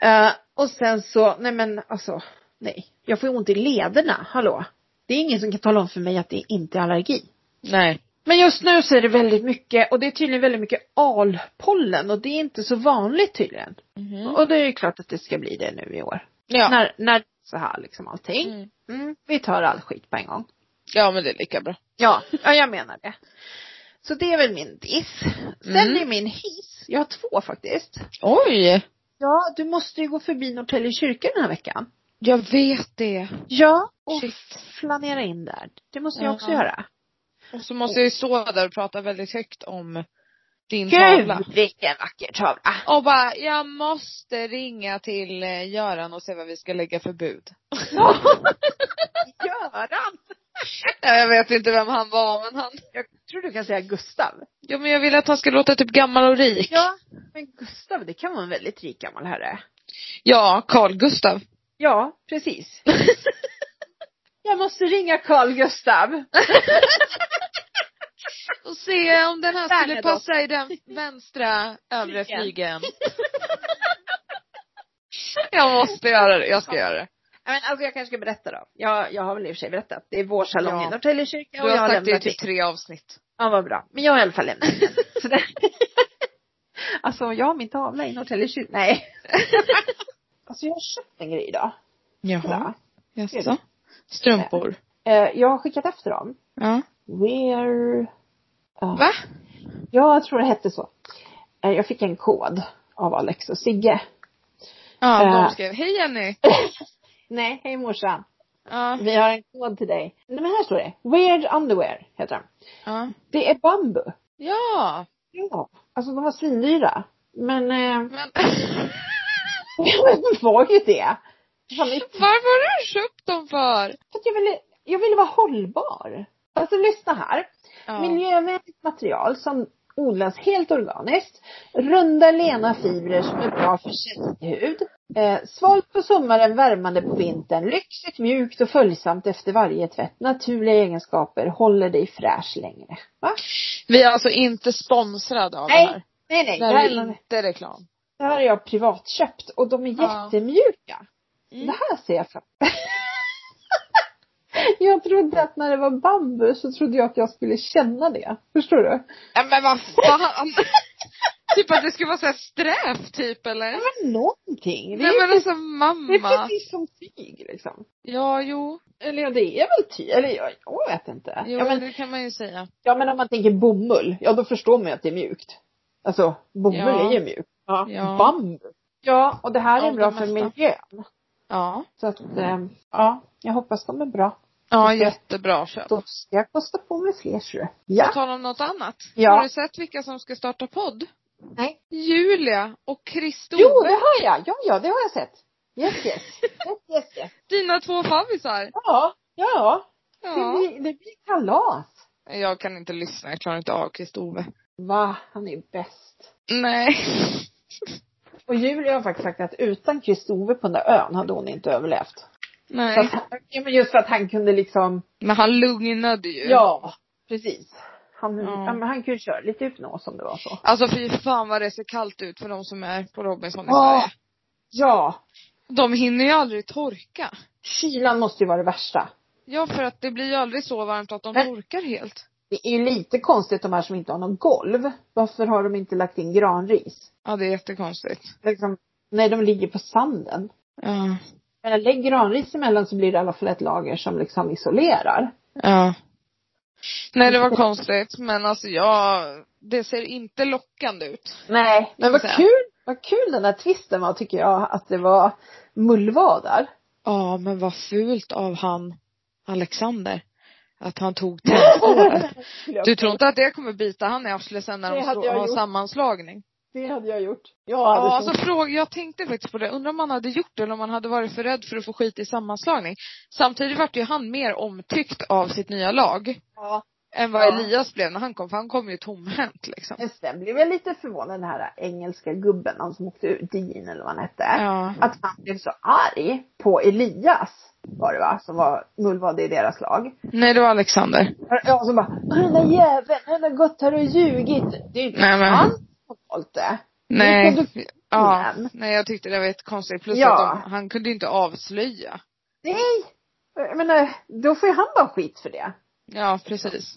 B: Eh, och sen så, nej men alltså, nej. Jag får ju ont i lederna, hallå. Det är ingen som kan tala om för mig att det inte är allergi.
A: Nej.
B: Men just nu så är det väldigt mycket och det är tydligen väldigt mycket alpollen och det är inte så vanligt tydligen.
A: Mhm. Mm.
B: Och det är ju klart att det ska bli det nu i år.
A: Ja.
B: När, när så här liksom allting.
A: Mm.
B: Mm, vi tar all skit på en gång.
A: ja, men det är lika bra.
B: Ja, ja jag menar det. Så det är väl min diss. Sen
A: Mm.
B: är min hiss, jag har två faktiskt.
A: Oj!
B: Ja, du måste ju gå förbi Norrtälje kyrka den här veckan.
A: Jag vet det.
B: Ja, och
A: Shit.
B: flanera in där. Det måste jag också
A: Ja.
B: göra.
A: Och så måste jag ju stå där och prata väldigt högt om din tavla.
B: Gud vilken vacker tavla.
A: Och bara, jag måste ringa till eh, Göran och se vad vi ska lägga för bud.
B: Göran!
A: Nej, jag vet inte vem han var men han,
B: Jag tror du kan säga Gustav.
A: ja men jag ville att han skulle låta typ gammal och rik.
B: Ja. Men Gustav, det kan vara en väldigt rik gammal herre.
A: Ja, Carl Gustav.
B: Ja, precis. jag måste ringa Carl Gustav.
A: Och se om den här skulle
B: Bernadotte.
A: passa i den vänstra övre flygeln. Jag måste göra det, jag ska göra det.
B: Ja, Men alltså jag kanske ska berätta då. Jag, jag har väl i och för sig berättat. Det är vår salong
A: Ja.
B: i Norrtälje kyrka
A: Du
B: och jag
A: har
B: har
A: sagt det i
B: lämnat
A: typ tre avsnitt.
B: Ja, vad bra. Men jag har i alla fall lämnat den. Så det- Alltså, jag har min tavla i Norrtälje kyrka. Nej. alltså, jag har köpt en grej idag. Bra.
A: jaså. Strumpor.
B: Eh, Jag har skickat efter dem.
A: Ja.
B: Where... Ja.
A: Va?
B: Ja, jag tror det hette så. Eh, Jag fick en kod av Alex och Sigge.
A: Ja,
B: Eh.
A: de skrev, hej Jenny.
B: Nej, hej morsan.
A: Ja.
B: Vi har en kod till dig. Nej, men här står det. Weird Underwear heter den.
A: Ja.
B: Det är bambu.
A: Ja.
B: Ja. Alltså de var svindyra. Men, eh,
A: Men
B: men de var ju det. Fan, det-
A: varför har du köpt dem för?
B: För att jag ville, jag ville vara hållbar. Alltså lyssna här.
A: Ja.
B: Miljövänligt material som odlas helt organiskt. Runda lena fibrer som är bra för känslig hud. Eh, svalt på sommaren, värmande på vintern. Lyxigt, mjukt och följsamt efter varje tvätt. Naturliga egenskaper håller dig fräsch längre. Va?
A: Vi är alltså inte sponsrade av det
B: Nej,
A: här.
B: nej, nej.
A: Det
B: Det
A: här
B: här,
A: är inte reklam.
B: det här har jag privatköpt och de är
A: Ja.
B: jättemjuka.
A: Mm.
B: Det här ser jag fram Jag trodde att när det var bambu så trodde jag att jag skulle känna det. Förstår du?
A: Ja, men vad fan. typ att det skulle vara såhär sträv typ eller?
B: Ja, men någonting. Det är,
A: Nej men
B: ju-
A: alltså
B: det är
A: mamma.
B: precis som tyg liksom.
A: Ja, jo.
B: Eller ja, det är väl tyg. Eller jag, jag vet inte.
A: Jo,
B: Ja men,
A: det kan man ju säga.
B: ja men om man tänker bomull, ja då förstår man ju att det är mjukt. Alltså bomull
A: Ja.
B: är ju mjukt. Ja.
A: Ja.
B: Bambu. Ja, och det här
A: Ja,
B: är bra
A: det
B: för
A: mesta.
B: miljön.
A: Ja.
B: Så att, ehm, ja, jag hoppas de är bra.
A: Ja,
B: Okej.
A: jättebra köp.
B: Då ska jag kosta på mig fler tror jag.
A: På
B: Ja.
A: tal om något annat.
B: Ja.
A: Har du sett vilka som ska starta podd?
B: Nej.
A: Julia och Christo.
B: Jo, det har jag. Ja, ja, det har jag sett. Yes, yes. yes, yes, yes.
A: Dina två favvisar.
B: Ja, ja. Det,
A: Ja.
B: blir, det blir kalas.
A: Jag kan inte lyssna, jag klarar inte av Kristove.
B: Va, han är bäst.
A: Nej.
B: Och Julia har faktiskt sagt att utan Kristove på den där ön hade hon inte överlevt. Så
A: Nej.
B: att, han- ja, men just för att han kunde liksom,
A: Men han lugnade ju.
B: ja, precis. Han,
A: Ja.
B: ja. men han kunde köra lite hypnos om det var så.
A: Alltså fy fan vad det ser kallt ut för de som är på Robinson i
B: Ja.
A: Sverige.
B: Ja,
A: De hinner ju aldrig torka.
B: kylan måste ju vara det värsta.
A: Ja, för att det blir ju aldrig så varmt att de
B: Men-
A: torkar helt.
B: Det är ju lite konstigt de här som inte har någon golv. Varför har de inte lagt in granris?
A: Ja, det är jättekonstigt.
B: Liksom, nej, de ligger på sanden.
A: Ja.
B: Men lägg granris emellan så blir det i alla fall ett lager som liksom isolerar.
A: Ja. Nej, det var konstigt. Men alltså jag, det ser inte lockande ut.
B: Nej, men vad
A: Så.
B: kul, vad kul den här twisten var tycker jag att det var mullvadar.
A: Ja, men vad fult av han Alexander. Att han tog tändskålen. Du tror inte att det kommer bita han i arslet sen när de
B: Det hade
A: slår-
B: jag
A: har
B: gjort.
A: sammanslagning?
B: Det hade jag gjort. Jag
A: Ja,
B: hade
A: alltså fråga, jag tänkte faktiskt på det. Undrar om han hade gjort det eller om han hade varit för rädd för att få skit i sammanslagning. Samtidigt vart ju han mer omtyckt av sitt nya lag
B: ja.
A: än vad
B: Ja.
A: Elias blev när han kom, för han kom ju tomhänt liksom.
B: Men sen blev jag lite förvånad den här engelska gubben, han som åkte ut, Dean eller vad han hette.
A: Ja.
B: Att han blev så arg på Elias var det va, som var mullvad i deras lag.
A: Nej, det var Alexander.
B: Ja, så bara, den där jäveln, han har gått här och ljugit. Det är ju inte
A: Nej, men-
B: han som har valt det. Det
A: Nej.
B: är produktionen.
A: Ja. Nej, jag tyckte det var ett konstigt. Plus
B: Ja.
A: att de, han kunde ju inte avslöja.
B: Nej! Jag menar, då får ju han bara skit för det.
A: Ja, precis.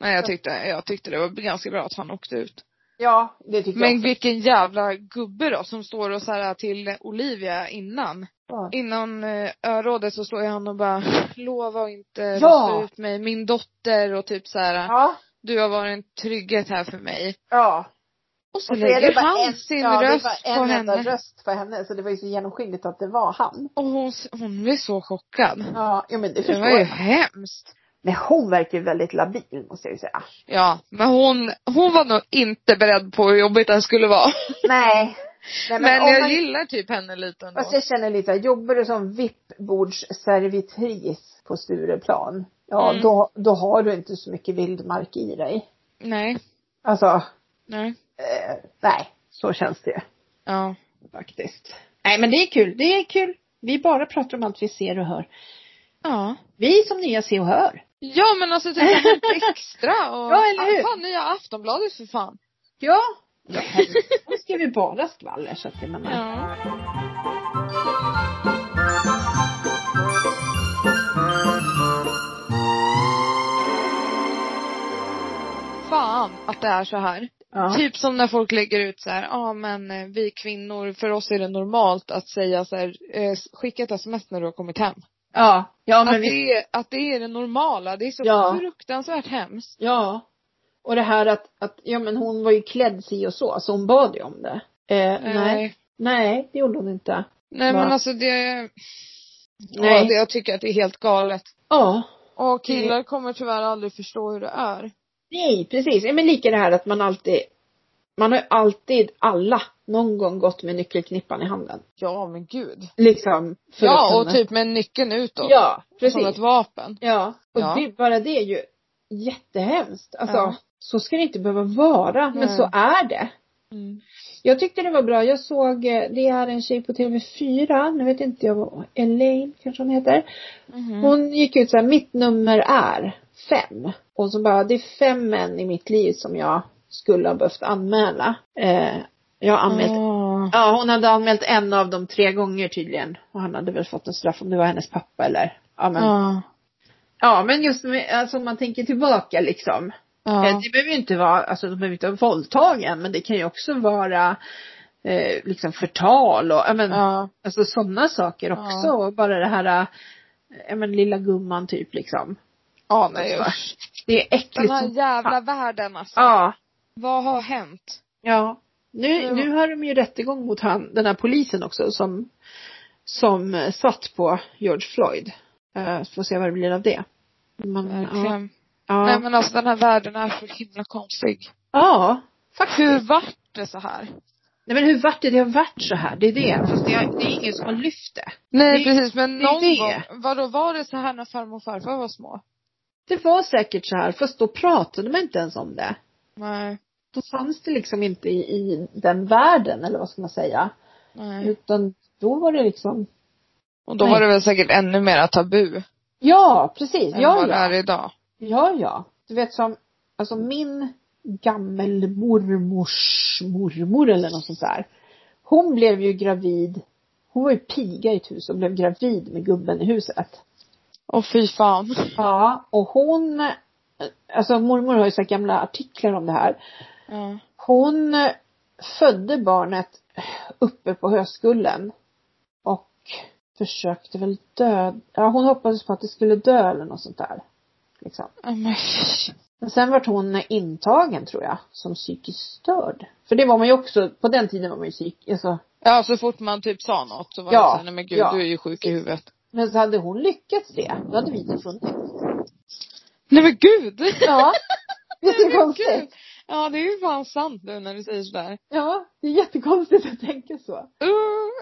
A: Nej, jag tyckte, jag tyckte det var ganska bra att han åkte ut.
B: Ja, det tycker
A: Men
B: jag.
A: vilken jävla gubbe då som står och så här till Olivia innan.
B: också.
A: Innan eh, örådet så står ju han och bara lova att inte
B: Ja.
A: rösta ut mig, min dotter och typ så här.
B: Ja,
A: du har varit en trygghet här för mig.
B: ja.
A: Och så
B: Och så är
A: lägger
B: det bara
A: han
B: en,
A: sin
B: ja, det är
A: röst
B: bara
A: på
B: en enda
A: henne.
B: röst på henne. Så det var ju så genomskinligt att det var han.
A: Och hon, s- hon blir så chockad.
B: Ja, ja men det
A: Det
B: förstår
A: var ju
B: jag.
A: hemskt.
B: Men hon verkar ju väldigt labil måste jag ju säga.
A: Ja, men hon, hon var nog inte beredd på hur jobbigt det här skulle vara.
B: Nej. Nej
A: Men,
B: om
A: jag
B: man-
A: gillar typ henne lite ändå.
B: Fast jag känner lite, jobbar du som vippbordsservitris på Stureplan, ja
A: Mm.
B: då, då har du inte så mycket vildmark i dig.
A: Nej,
B: Alltså,
A: nej.
B: eh, nej, så känns det ju
A: Ja.
B: faktiskt. Nej men det är kul, det är kul. Vi bara pratar om allt vi ser och hör.
A: Ja.
B: Vi som nya ser och hör.
A: Ja men alltså typ som extra och,
B: Ja, eller hur?
A: fan nya Aftonbladet för fan.
B: Ja. Ja, herregud. Nu ska vi bara skvaller så att det menar.
A: Ja. Fan att det är så här.
B: Ja.
A: Typ som när folk lägger ut så här, ja ah, men eh, vi kvinnor, för oss är det normalt att säga så här, eh, skicka ett sms när du har kommit hem.
B: Ja. Ja men
A: att,
B: vi,
A: det, är- att det är det normala, det är så
B: Ja.
A: fruktansvärt hemskt.
B: ja. Och det här att, att, ja men hon var ju klädd si och så, så hon bad ju om det. Eh, nej.
A: Eh,
B: Nej, det gjorde hon inte.
A: nej
B: Va?
A: men alltså det,
B: Nej.
A: Ja, det, jag tycker att det är helt galet. Mm.
B: Ja.
A: Och killar kommer tyvärr aldrig förstå hur det är.
B: Nej, precis. Ja, men lika det här att man alltid, man har ju alltid alla någon gång gått med nyckelknippan i handen.
A: Ja men gud.
B: Liksom. för att
A: Ja
B: kunna-
A: och typ med nyckeln utåt.
B: Ja,
A: Som ett
B: precis.
A: vapen.
B: Alltså, Ja. Och
A: Ja.
B: Det, bara det är ju jättehemskt. Alltså,
A: Ja.
B: så ska det inte behöva vara, men
A: Nej.
B: så är det.
A: Mm.
B: Jag tyckte det var bra. Jag såg, eh, det är en tjej på TV4, nu vet inte jag vad, Elaine kanske hon heter.
A: Mhm.
B: Hon gick ut så här, mitt nummer är fem. Och så bara, det är fem män i mitt liv som jag skulle ha behövt anmäla. Eh, jag har anmält,
A: Ah.
B: ja hon hade anmält en av dem tre gånger tydligen. Och han hade väl fått en straff om det var hennes pappa eller, ja men. Ja,
A: Ja.
B: men just med- alltså om man tänker tillbaka liksom. Eh,
A: Ja.
B: Det behöver ju inte vara, alltså de behöver inte vara våldtagen men det kan ju också vara eh, liksom förtal och, ja men
A: Ja.
B: Alltså sådana saker också.
A: Ja.
B: Och bara det här, äh, ja men lilla gumman typ liksom.
A: Ja nej
B: Alltså,
A: usch.
B: Det är
A: Den
B: äckligt.
A: här
B: som-
A: jävla världen alltså.
B: Ja.
A: Vad har hänt?
B: Ja. Nu,
A: Ja.
B: nu har de ju rättegång mot han, den här polisen också som, som eh, satt på George Floyd. Eh, får se vad det blir av det. Men, ja.
A: Verkligen. Nej
B: Ja.
A: men alltså den här världen är så himla konstig.
B: ja.
A: Hur
B: Faktiskt.
A: vart det så här?
B: Nej men hur vart det? Det har varit så här. Det är det. Fast det är, det är ingen som har lyft det.
A: Nej
B: Det-
A: precis men
B: det är
A: någon
B: det.
A: gång, vadå var det så här när farmor och farfar var små?
B: Det var säkert så här. Fast då pratade man inte ens om det.
A: Nej.
B: Då fanns det liksom inte i, i den världen eller vad ska man säga.
A: Nej.
B: Utan då var det liksom,
A: Och då
B: Nej.
A: var det väl säkert ännu mera tabu
B: ja precis,
A: än vad
B: ja
A: det är
B: ja.
A: idag.
B: Ja ja. Du vet som, alltså min gammelmormors mormor eller något sånt där. Hon blev ju gravid, hon var ju piga i ett hus och blev gravid med gubben i huset.
A: Åh fy fan.
B: Ja, och hon, eh, alltså mormor har ju så här gamla artiklar om det här.
A: Ja.
B: Hon eh, födde barnet uppe på höskullen och försökte väl dö. Ja, hon hoppades på att det skulle dö eller något sånt där. Liksom.
A: Ja, men fy.
B: Men sen vart hon intagen tror jag, som psykiskt störd. För det var man ju också, på den tiden var man ju psyk, alltså.
A: Ja, så fort man typ sa något så var
B: Ja,
A: det såhär, nej men gud
B: ja.
A: du är ju sjuk i huvudet.
B: Men så hade hon lyckats det, då hade vi inte funnits.
A: Nej men gud!
B: Ja. Det är så
A: Men gud.
B: konstigt.
A: Ja det är ju fan sant nu när du säger sådär.
B: Ja, det är jättekonstigt att tänka så.
A: Uh,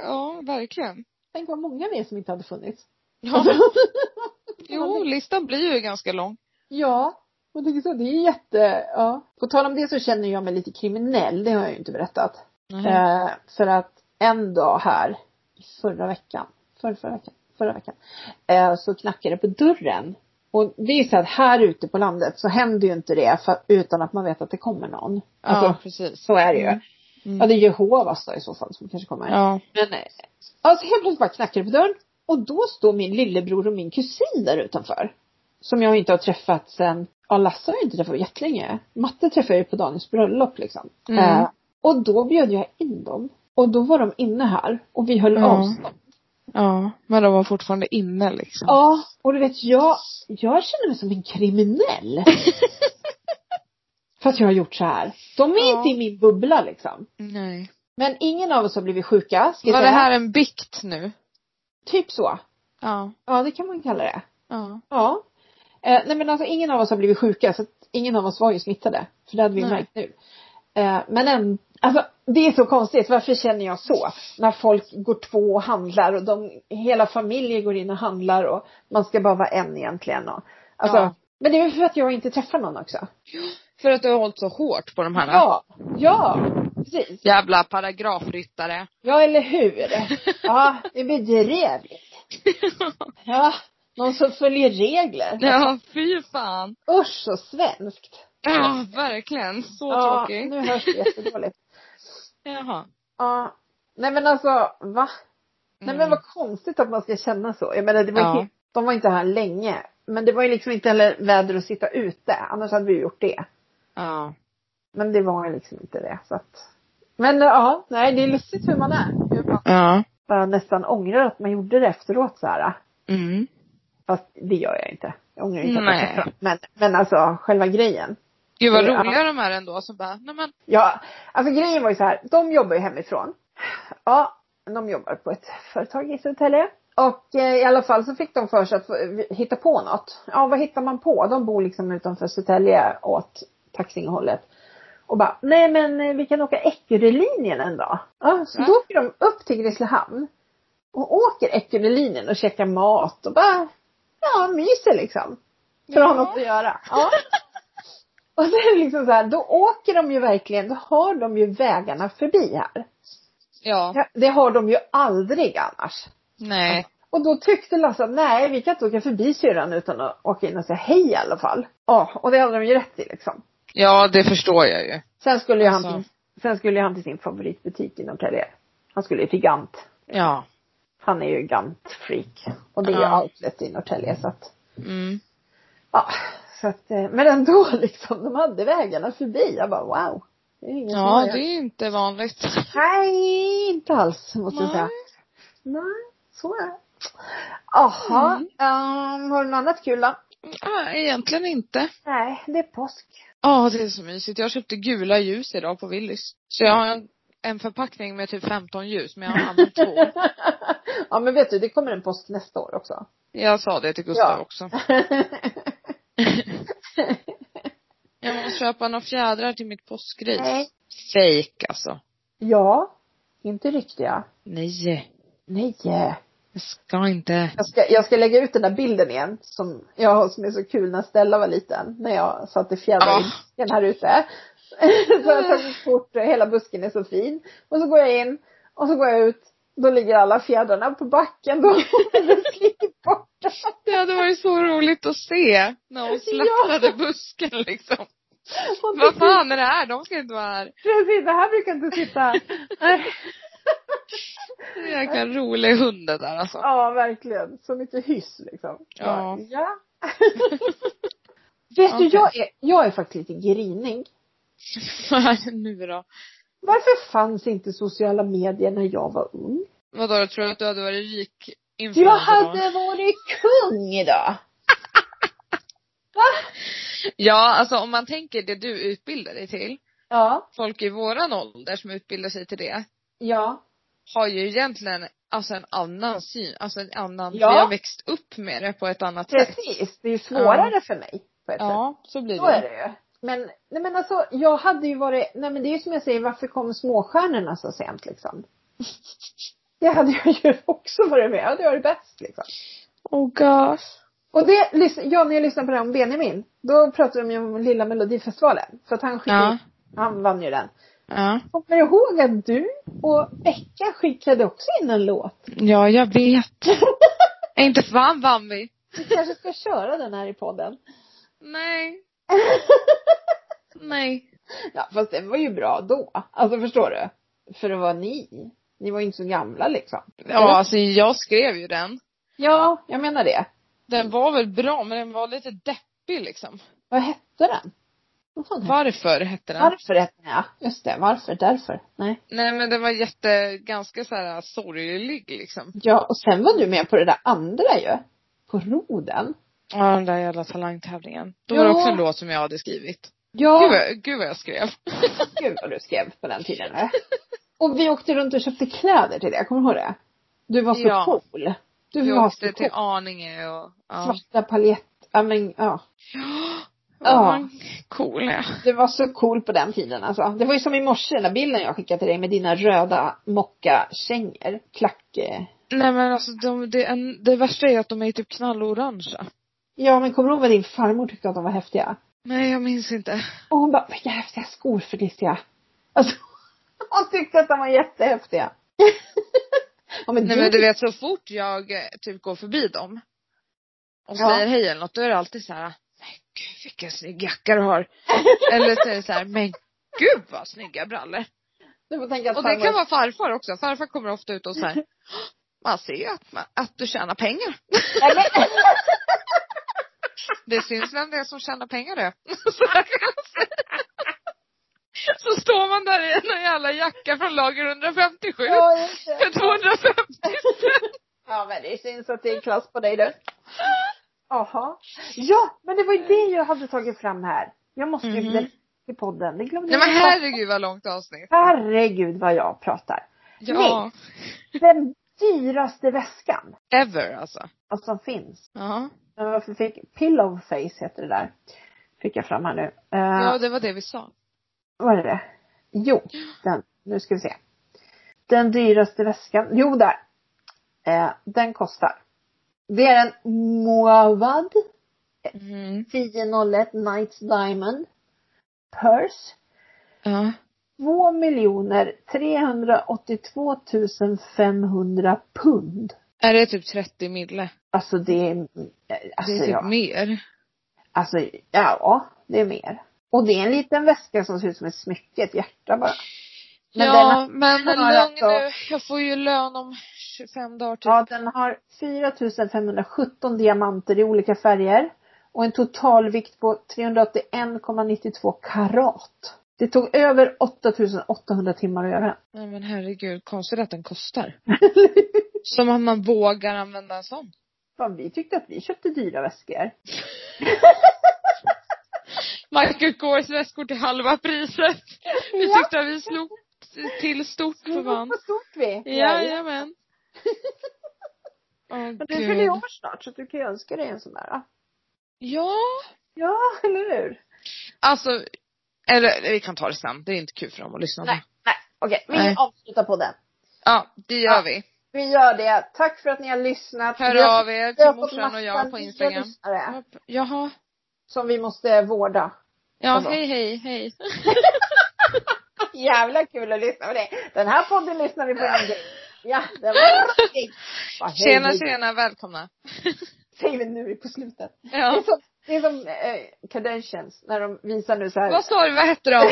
A: ja, verkligen.
B: Tänk vad många vi är som inte hade funnits.
A: Ja. Jo, listan blir ju ganska lång.
B: Ja, och det, så det är jätte, ja. På tal om det så känner jag mig lite kriminell, det har jag ju inte berättat.
A: Mm.
B: Eh, för att en dag här, i förra veckan, förra, förra veckan, förra veckan, eh, så knackade det på dörren. Och det är ju så att här ute på landet så händer ju inte det för, utan att man vet att det kommer någon. Alltså,
A: ja, precis.
B: så är det ju.
A: Mm.
B: Ja, det är Jehovas då i så fall som kanske kommer.
A: Ja.
B: Men, eh, alltså helt plötsligt bara knackar det på dörren. Och då står min lillebror och min kusin där utanför. Som jag inte har träffat sen, ja Lasse har jag inte träffat på jättelänge. Matte träffade jag ju på Daniels bröllop liksom.
A: Mm.
B: Eh, och då bjöd jag in dem. Och då var de inne här och vi höll
A: Ja.
B: avstånd.
A: Ja, men de var fortfarande inne liksom.
B: Ja, och du vet jag, jag känner mig som en kriminell. För att jag har gjort så här. De är
A: Ja.
B: inte i min bubbla liksom.
A: Nej.
B: Men ingen av oss har blivit sjuka, ska jag
A: Var det
B: säga.
A: här en bikt nu?
B: Typ så.
A: Ja.
B: Ja, det kan man kalla det.
A: Ja.
B: Ja. Eh, nej men alltså ingen av oss har blivit sjuka så att ingen av oss var ju smittade. För det hade vi
A: Nej.
B: märkt nu. Eh, men en, alltså det är så konstigt, varför känner jag så? När folk går två och handlar och de, hela familjer går in och handlar och man ska bara vara en egentligen. Och, alltså,
A: Ja.
B: Men det är väl för att jag inte träffar någon också.
A: För att du har hållit så hårt på de här
B: Ja, ja, precis.
A: jävla paragrafryttare.
B: Ja, eller hur? Ja, det blir bedrövligt. Ja, någon som följer regler.
A: Ja, fy fan.
B: Usch så svenskt.
A: Ja, verkligen. Så
B: Ja,
A: tråkigt.
B: nu hörs det jättedåligt.
A: Jaha.
B: Ja, nej men alltså, va? Nej men vad konstigt att man ska känna så. Jag menar, det var ju,
A: Mm. Ja.
B: helt- de var inte här länge. Men det var ju liksom inte heller väder att sitta ute. Annars hade vi ju gjort det.
A: Ja.
B: Men det var ju liksom inte det. Så att... Men ja, nej det är lustigt hur man är. Hur man
A: Ja.
B: bara nästan ångrar att man gjorde det efteråt så här.
A: Mm.
B: Fast det gör jag inte. Jag ångrar inte att jag
A: Nej.
B: träffade dem. men, men alltså själva grejen.
A: Gud vad
B: Ja.
A: roliga de är ändå som bara, nej men.
B: Ja, alltså grejen var ju så här. De jobbar ju hemifrån. Ja, de jobbar på ett företag i Södertälje. Och eh, i alla fall så fick de för sig att få- hitta på något. Ja, vad hittar man på? De bor liksom utanför Södertälje åt Taxinghållet. Och bara, nej men eh, vi kan åka Eckerölinjen en dag. Ja, så
A: Ja.
B: då åker de upp till Grisslehamn. Och åker Eckerölinjen och käkar mat och bara, ja myser liksom. För att ha
A: Ja.
B: något att göra. Ja. Och så är det liksom så här, då åker de ju verkligen, då har de ju vägarna förbi här.
A: Ja.
B: Ja, det har de ju aldrig annars.
A: Nej.
B: Och då tyckte Lasse att nej, vi kan inte åka förbi syrran utan att åka in och säga hej i alla fall. Ja, och det hade de ju rätt i liksom.
A: Ja, det förstår jag ju.
B: Sen skulle ju han,
A: Alltså.
B: till, sen skulle ju han till sin favoritbutik i Norrtälje. Han skulle ju till Gant.
A: Ja.
B: Han är ju Gant-freak. Och det är ju
A: Ja.
B: outlet i Norrtälje så att,
A: Mm.
B: ja. Så att, eh, men ändå liksom, de hade vägarna förbi. Jag bara wow. Det är ingen som har
A: Ja, det är inte vanligt.
B: Nej, inte alls måste jag säga.
A: Nej.
B: Nej, så är det. Jaha, ehm, har du något annat kul då?
A: Ja, Ah, egentligen inte.
B: Nej, det är påsk.
A: Ja, det är så mysigt. Jag köpte gula ljus idag på Willys. Så jag har en, en förpackning med typ 15 ljus, men jag har använt två.
B: ja, men vet du, det kommer en påsk nästa år också.
A: Jag sa det till Gustav
B: Ja.
A: också. Jag måste köpa några fjädrar till mitt påskgris.
B: Nej.
A: Fake alltså.
B: ja, inte riktiga.
A: Nej.
B: Nej.
A: Jag ska inte.
B: Jag ska, jag ska lägga ut den där bilden igen som jag har som är så kul när Stella var liten. När jag satte fjädrar
A: Ja.
B: i busken här ute. så har jag tagit kort och hela busken är så fin. Och så går jag in och så går jag ut. Då ligger alla fjädrarna på backen då. ligger borta.
A: Det hade varit så roligt att se när hon slaktade
B: Ja.
A: busken liksom.
B: Och
A: Vad
B: det-
A: fan är det här? De ska inte vara här.
B: Precis, det här brukar inte sitta. Nej.
A: Det är en jäkla rolig hund det där alltså.
B: ja, verkligen. Så mycket hyss liksom.
A: Ja.
B: ja. Vet du,
A: Okej.
B: jag är, jag är faktiskt lite grinig.
A: Vad är det nu då?
B: Varför fanns inte sociala medier när jag var ung?
A: Vadå, jag tror att du hade varit rik influencer
B: Jag
A: då?
B: hade varit kung idag.
A: Ja, alltså om man tänker det du utbildar dig till.
B: Ja,
A: Folk i våran ålder som utbildar sig till det.
B: ja,
A: har ju egentligen alltså en annan syn, alltså en annan,
B: Ja.
A: vi har växt upp med det på ett annat sätt.
B: precis. Det är ju svårare för mig på ett sätt.
A: Ja, så blir
B: Så är det ju. Men, nej men alltså jag hade ju varit, nej men det är ju som jag säger, varför kom småstjärnorna så sent liksom? Det hade jag ju också varit med, jag hade varit bäst liksom.
A: Oh gosh.
B: Och det, lys- ja när jag lyssnade på det här om Benjamin, då pratade de ju om lilla melodifestivalen. För att han skickade,
A: Ja.
B: han vann ju den.
A: Ja.
B: Kommer du ihåg att du och Becka skickade också in en låt?
A: ja, jag vet. inte fan vann vi.
B: Vi kanske ska köra den här i podden.
A: Nej. Nej.
B: Ja, fast den var ju bra då. Alltså förstår du? För det var ni. Ni var ju inte så gamla liksom.
A: Ja, alltså jag skrev ju den.
B: Ja, jag menar det.
A: Den var väl bra, men den var lite deppig liksom.
B: Vad hette den? Vad fan hette
A: Varför hette
B: den?
A: den?
B: Varför hette den? Ja, just det. Varför? Därför? Nej.
A: Nej men den var jätte, ganska så här sorglig liksom.
B: Ja, och sen var du med på det där andra ju. På roden.
A: Ja, den där jävla talangtävlingen. Då
B: Ja.
A: var det också en låt som jag hade skrivit.
B: Ja.
A: Gud, vad- gud vad jag skrev.
B: Gud vad du skrev på den tiden. va? Och vi åkte runt och köpte kläder till det. Kommer du ihåg det? Du var så
A: Ja.
B: cool. Du
A: Vi
B: var så
A: åkte
B: cool.
A: till Arninge och, ja.
B: Svarta paljett, ja men ja.
A: Ja.
B: Ja.
A: Ja. Cool ja.
B: Det var så cool på den tiden alltså. Det var ju som i morse den där bilden jag skickade till dig med dina röda mockakängor. Klack. eh.
A: Nej men alltså de, det, är en, det värsta är att de är typ knallorangea.
B: Ja men kommer du ihåg vad din farmor tyckte att de var häftiga?
A: Nej jag minns inte.
B: Och hon bara, vilka häftiga skor Felicia. Alltså, hon tyckte att de var jättehäftiga. ja, men
A: Nej
B: du,
A: men du vet så fort jag eh, typ går förbi dem och
B: Ja.
A: säger hej eller något, då är det alltid så här, men gud vilken snygg jacka du har. eller så är det så här, men gud vad snygga brallor.
B: du får tänka att
A: Och det kan vara farfar också. Farfar kommer ofta ut och så här, "Ah, man ser ju att, man, att du tjänar pengar.
B: Nej, men,
A: Det syns vem det är som tjänar pengar det. Så här kan jag säga. Så står man där i en jävla jacka från lager 157
B: ja, just det.
A: för 250 spänn.
B: ja men det syns att det är klass på dig du. Jaha. Ja, men det var ju det jag hade tagit fram här. Jag måste ju
A: Mhm.
B: berätta till podden. Det glömde
A: Nej men
B: jag.
A: herregud vad långt avsnitt.
B: Herregud vad jag pratar.
A: Ja.
B: Den dyraste väskan
A: Ever alltså.
B: alltså, som finns.
A: Ja.
B: Men Varför fick, pillow face heter det där. Fick jag fram här nu. Eh,
A: Ja det var det vi sa.
B: Var är det? Jo, den. Nu ska vi se. Den dyraste väskan. Jo, där. Eh, den kostar. Det är en Moavad
A: Mm.
B: 1001 Knights Diamond Purse.
A: Ja.
B: 2 382 500 pund.
A: Är det typ 30 mille?
B: Alltså det är, eh,
A: Det
B: alltså,
A: är typ
B: ja,
A: mer.
B: alltså ja, det är mer. Och det är en liten väska som ser ut som ett smycke, ett hjärta
A: Typ.
B: bara. Men den
A: ja
B: har-
A: men
B: den
A: lugn
B: har alltså-
A: nu. Jag får ju lön om 25 dagar typ.
B: Ja, den har 4517 diamanter i olika färger och en totalvikt på 381,92 karat. Det tog över 8800 timmar att göra den.
A: Nej men herregud, konstigt att den kostar. Som att man vågar använda en sån.
B: Fan, vi tyckte att vi köpte dyra väskor.
A: Michael Kors väskor till halva priset. Vi
B: Ja.
A: tyckte att vi slog till stort för fan.
B: Mm, Vad stort vi är.
A: Jajamän. Åh
B: Men du fyller ju
A: gud.
B: år snart så du kan ju önska dig en sån där. då.
A: Ja.
B: Ja, eller hur?
A: Alltså, eller vi kan ta det sen. Det är inte kul för dem att lyssna på.
B: Nej, nej, okej.
A: Nej.
B: Vi avslutar på den.
A: Ja, det gör
B: Ja.
A: vi.
B: Vi gör det. Tack för att ni har lyssnat. Vi
A: Hör
B: har-
A: av er
B: vi har
A: till
B: fått
A: morsan och
B: massa
A: jag på
B: nya
A: Instagram.
B: lyssnare
A: Jaha.
B: Som vi måste vårda.
A: Ja,
B: Vadå?
A: hej hej hej.
B: Jävla kul att lyssna på dig. Den här podden lyssnar vi på en gång. Ja, den var rolig. Bara, hej,
A: Tjena
B: hej.
A: tjena, välkomna.
B: Säger vi nu på slutet. Det är
A: Ja.
B: som, det är som eh, Kardashians när de visar nu så här.
A: Vad sa du, vad hette de?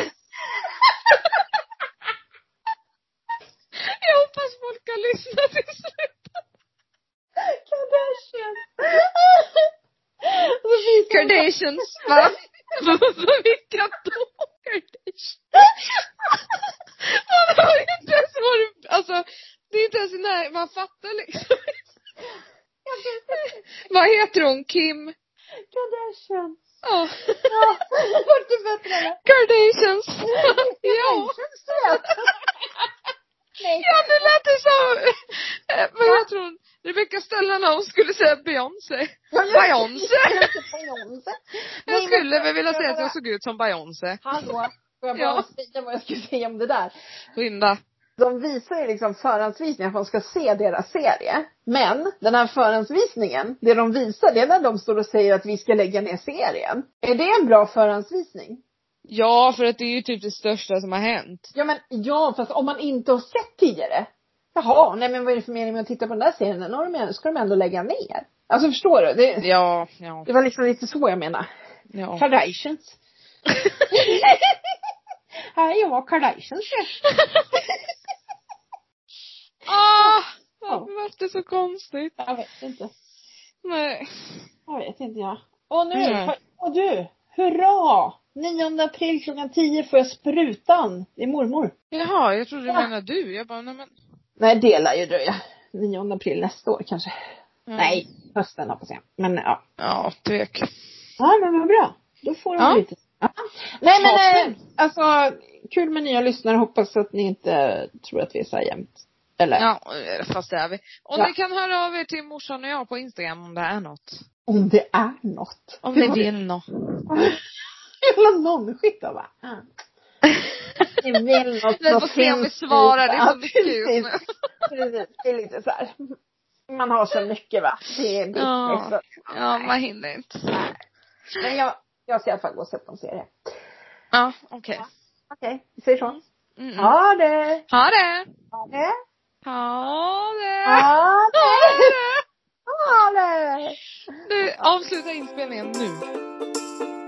A: Jag hoppas folk har lyssnat till slut.
B: Kardashians. Och så visar de-
A: Kardashians, va? Vilka då? Kardashians. Man har ju inte ens varit, alltså det är inte ens när man fattar liksom. Vad heter hon? Kim?
B: Kardashians.
A: Ja.
B: Ja, vart det bättre eller?
A: Kardashians. Ja.
B: Kardashians söt. Nej.
A: Ja, nu lät det som, eh, vad heter hon? Rebecca Stella när hon skulle säga Beyoncé.
B: Ja, jag-
A: Beyoncé.
B: Beyoncé.
A: Jag
B: Nej,
A: skulle
B: men-
A: väl vilja säga att
B: bara-
A: jag såg ut som Beyoncé.
B: Hallå, får jag bara
A: Ja.
B: säga vad jag skulle säga om det där?
A: Skynda.
B: De visar ju liksom förhandsvisningar för att man ska se deras serie. Men den här förhandsvisningen, det de visar det är när de står och säger att vi ska lägga ner serien. Är det en bra förhandsvisning?
A: Ja, för att det är ju typ det största som har hänt.
B: Ja men ja, fast om man inte har sett tidigare. Jaha, nej men vad är det för mening med att titta på den där serien? Den har de, ska de ändå lägga ner. Alltså förstår du? Det,
A: Ja, ja,
B: det var liksom lite så jag menade.
A: ja.
B: Kardashians. Här är jag, Kardashians.
A: Ah! Varför vart det så konstigt?
B: Jag vet inte.
A: Nej.
B: Jag vet inte jag. Och nu,
A: Mm.
B: och du, hurra! 9 april klockan 10 får jag sprutan. Det är mormor.
A: Jaha, jag trodde du
B: Ja.
A: menade du. Jag bara, nej men.
B: Nej, det lär ju dröja. 9 april nästa år kanske.
A: Ja.
B: Nej, hösten hoppas jag. Men ja.
A: Ja, tvek.
B: Ja, men vad bra. Då får de
A: Ja.
B: lite. Ja. Nej men eh,
A: Toppen.
B: alltså, kul med nya lyssnare. Hoppas att ni inte tror att vi är så här jämt. Eller?
A: Ja, eh, fast det är vi. Och
B: Ja.
A: ni kan höra av er till morsan och jag på Instagram om det är något.
B: Om det är något.
A: Om
B: Hur
A: ni
B: var
A: vill nå.
B: Jävla nonskit av mm. Vi vill något
A: Vi
B: så
A: får se om vi
B: finns
A: svarar, det är så
B: lite.
A: mycket just nu.
B: Precis. Precis. Det är lite så här. Man har så mycket va. Det är business.
A: Ja.
B: och-
A: Ja, man hinner inte.
B: Men jag, jag ska i alla fall gå och sätta en serie.
A: Ja, okej.
B: Okej, vi säger så.
A: Mm.
B: Ha det!
A: Ha det!
B: Ha det!
A: Ha det!
B: Ha
A: Ha
B: det!
A: det!
B: Ha det!
A: Du, avsluta inspelningen nu.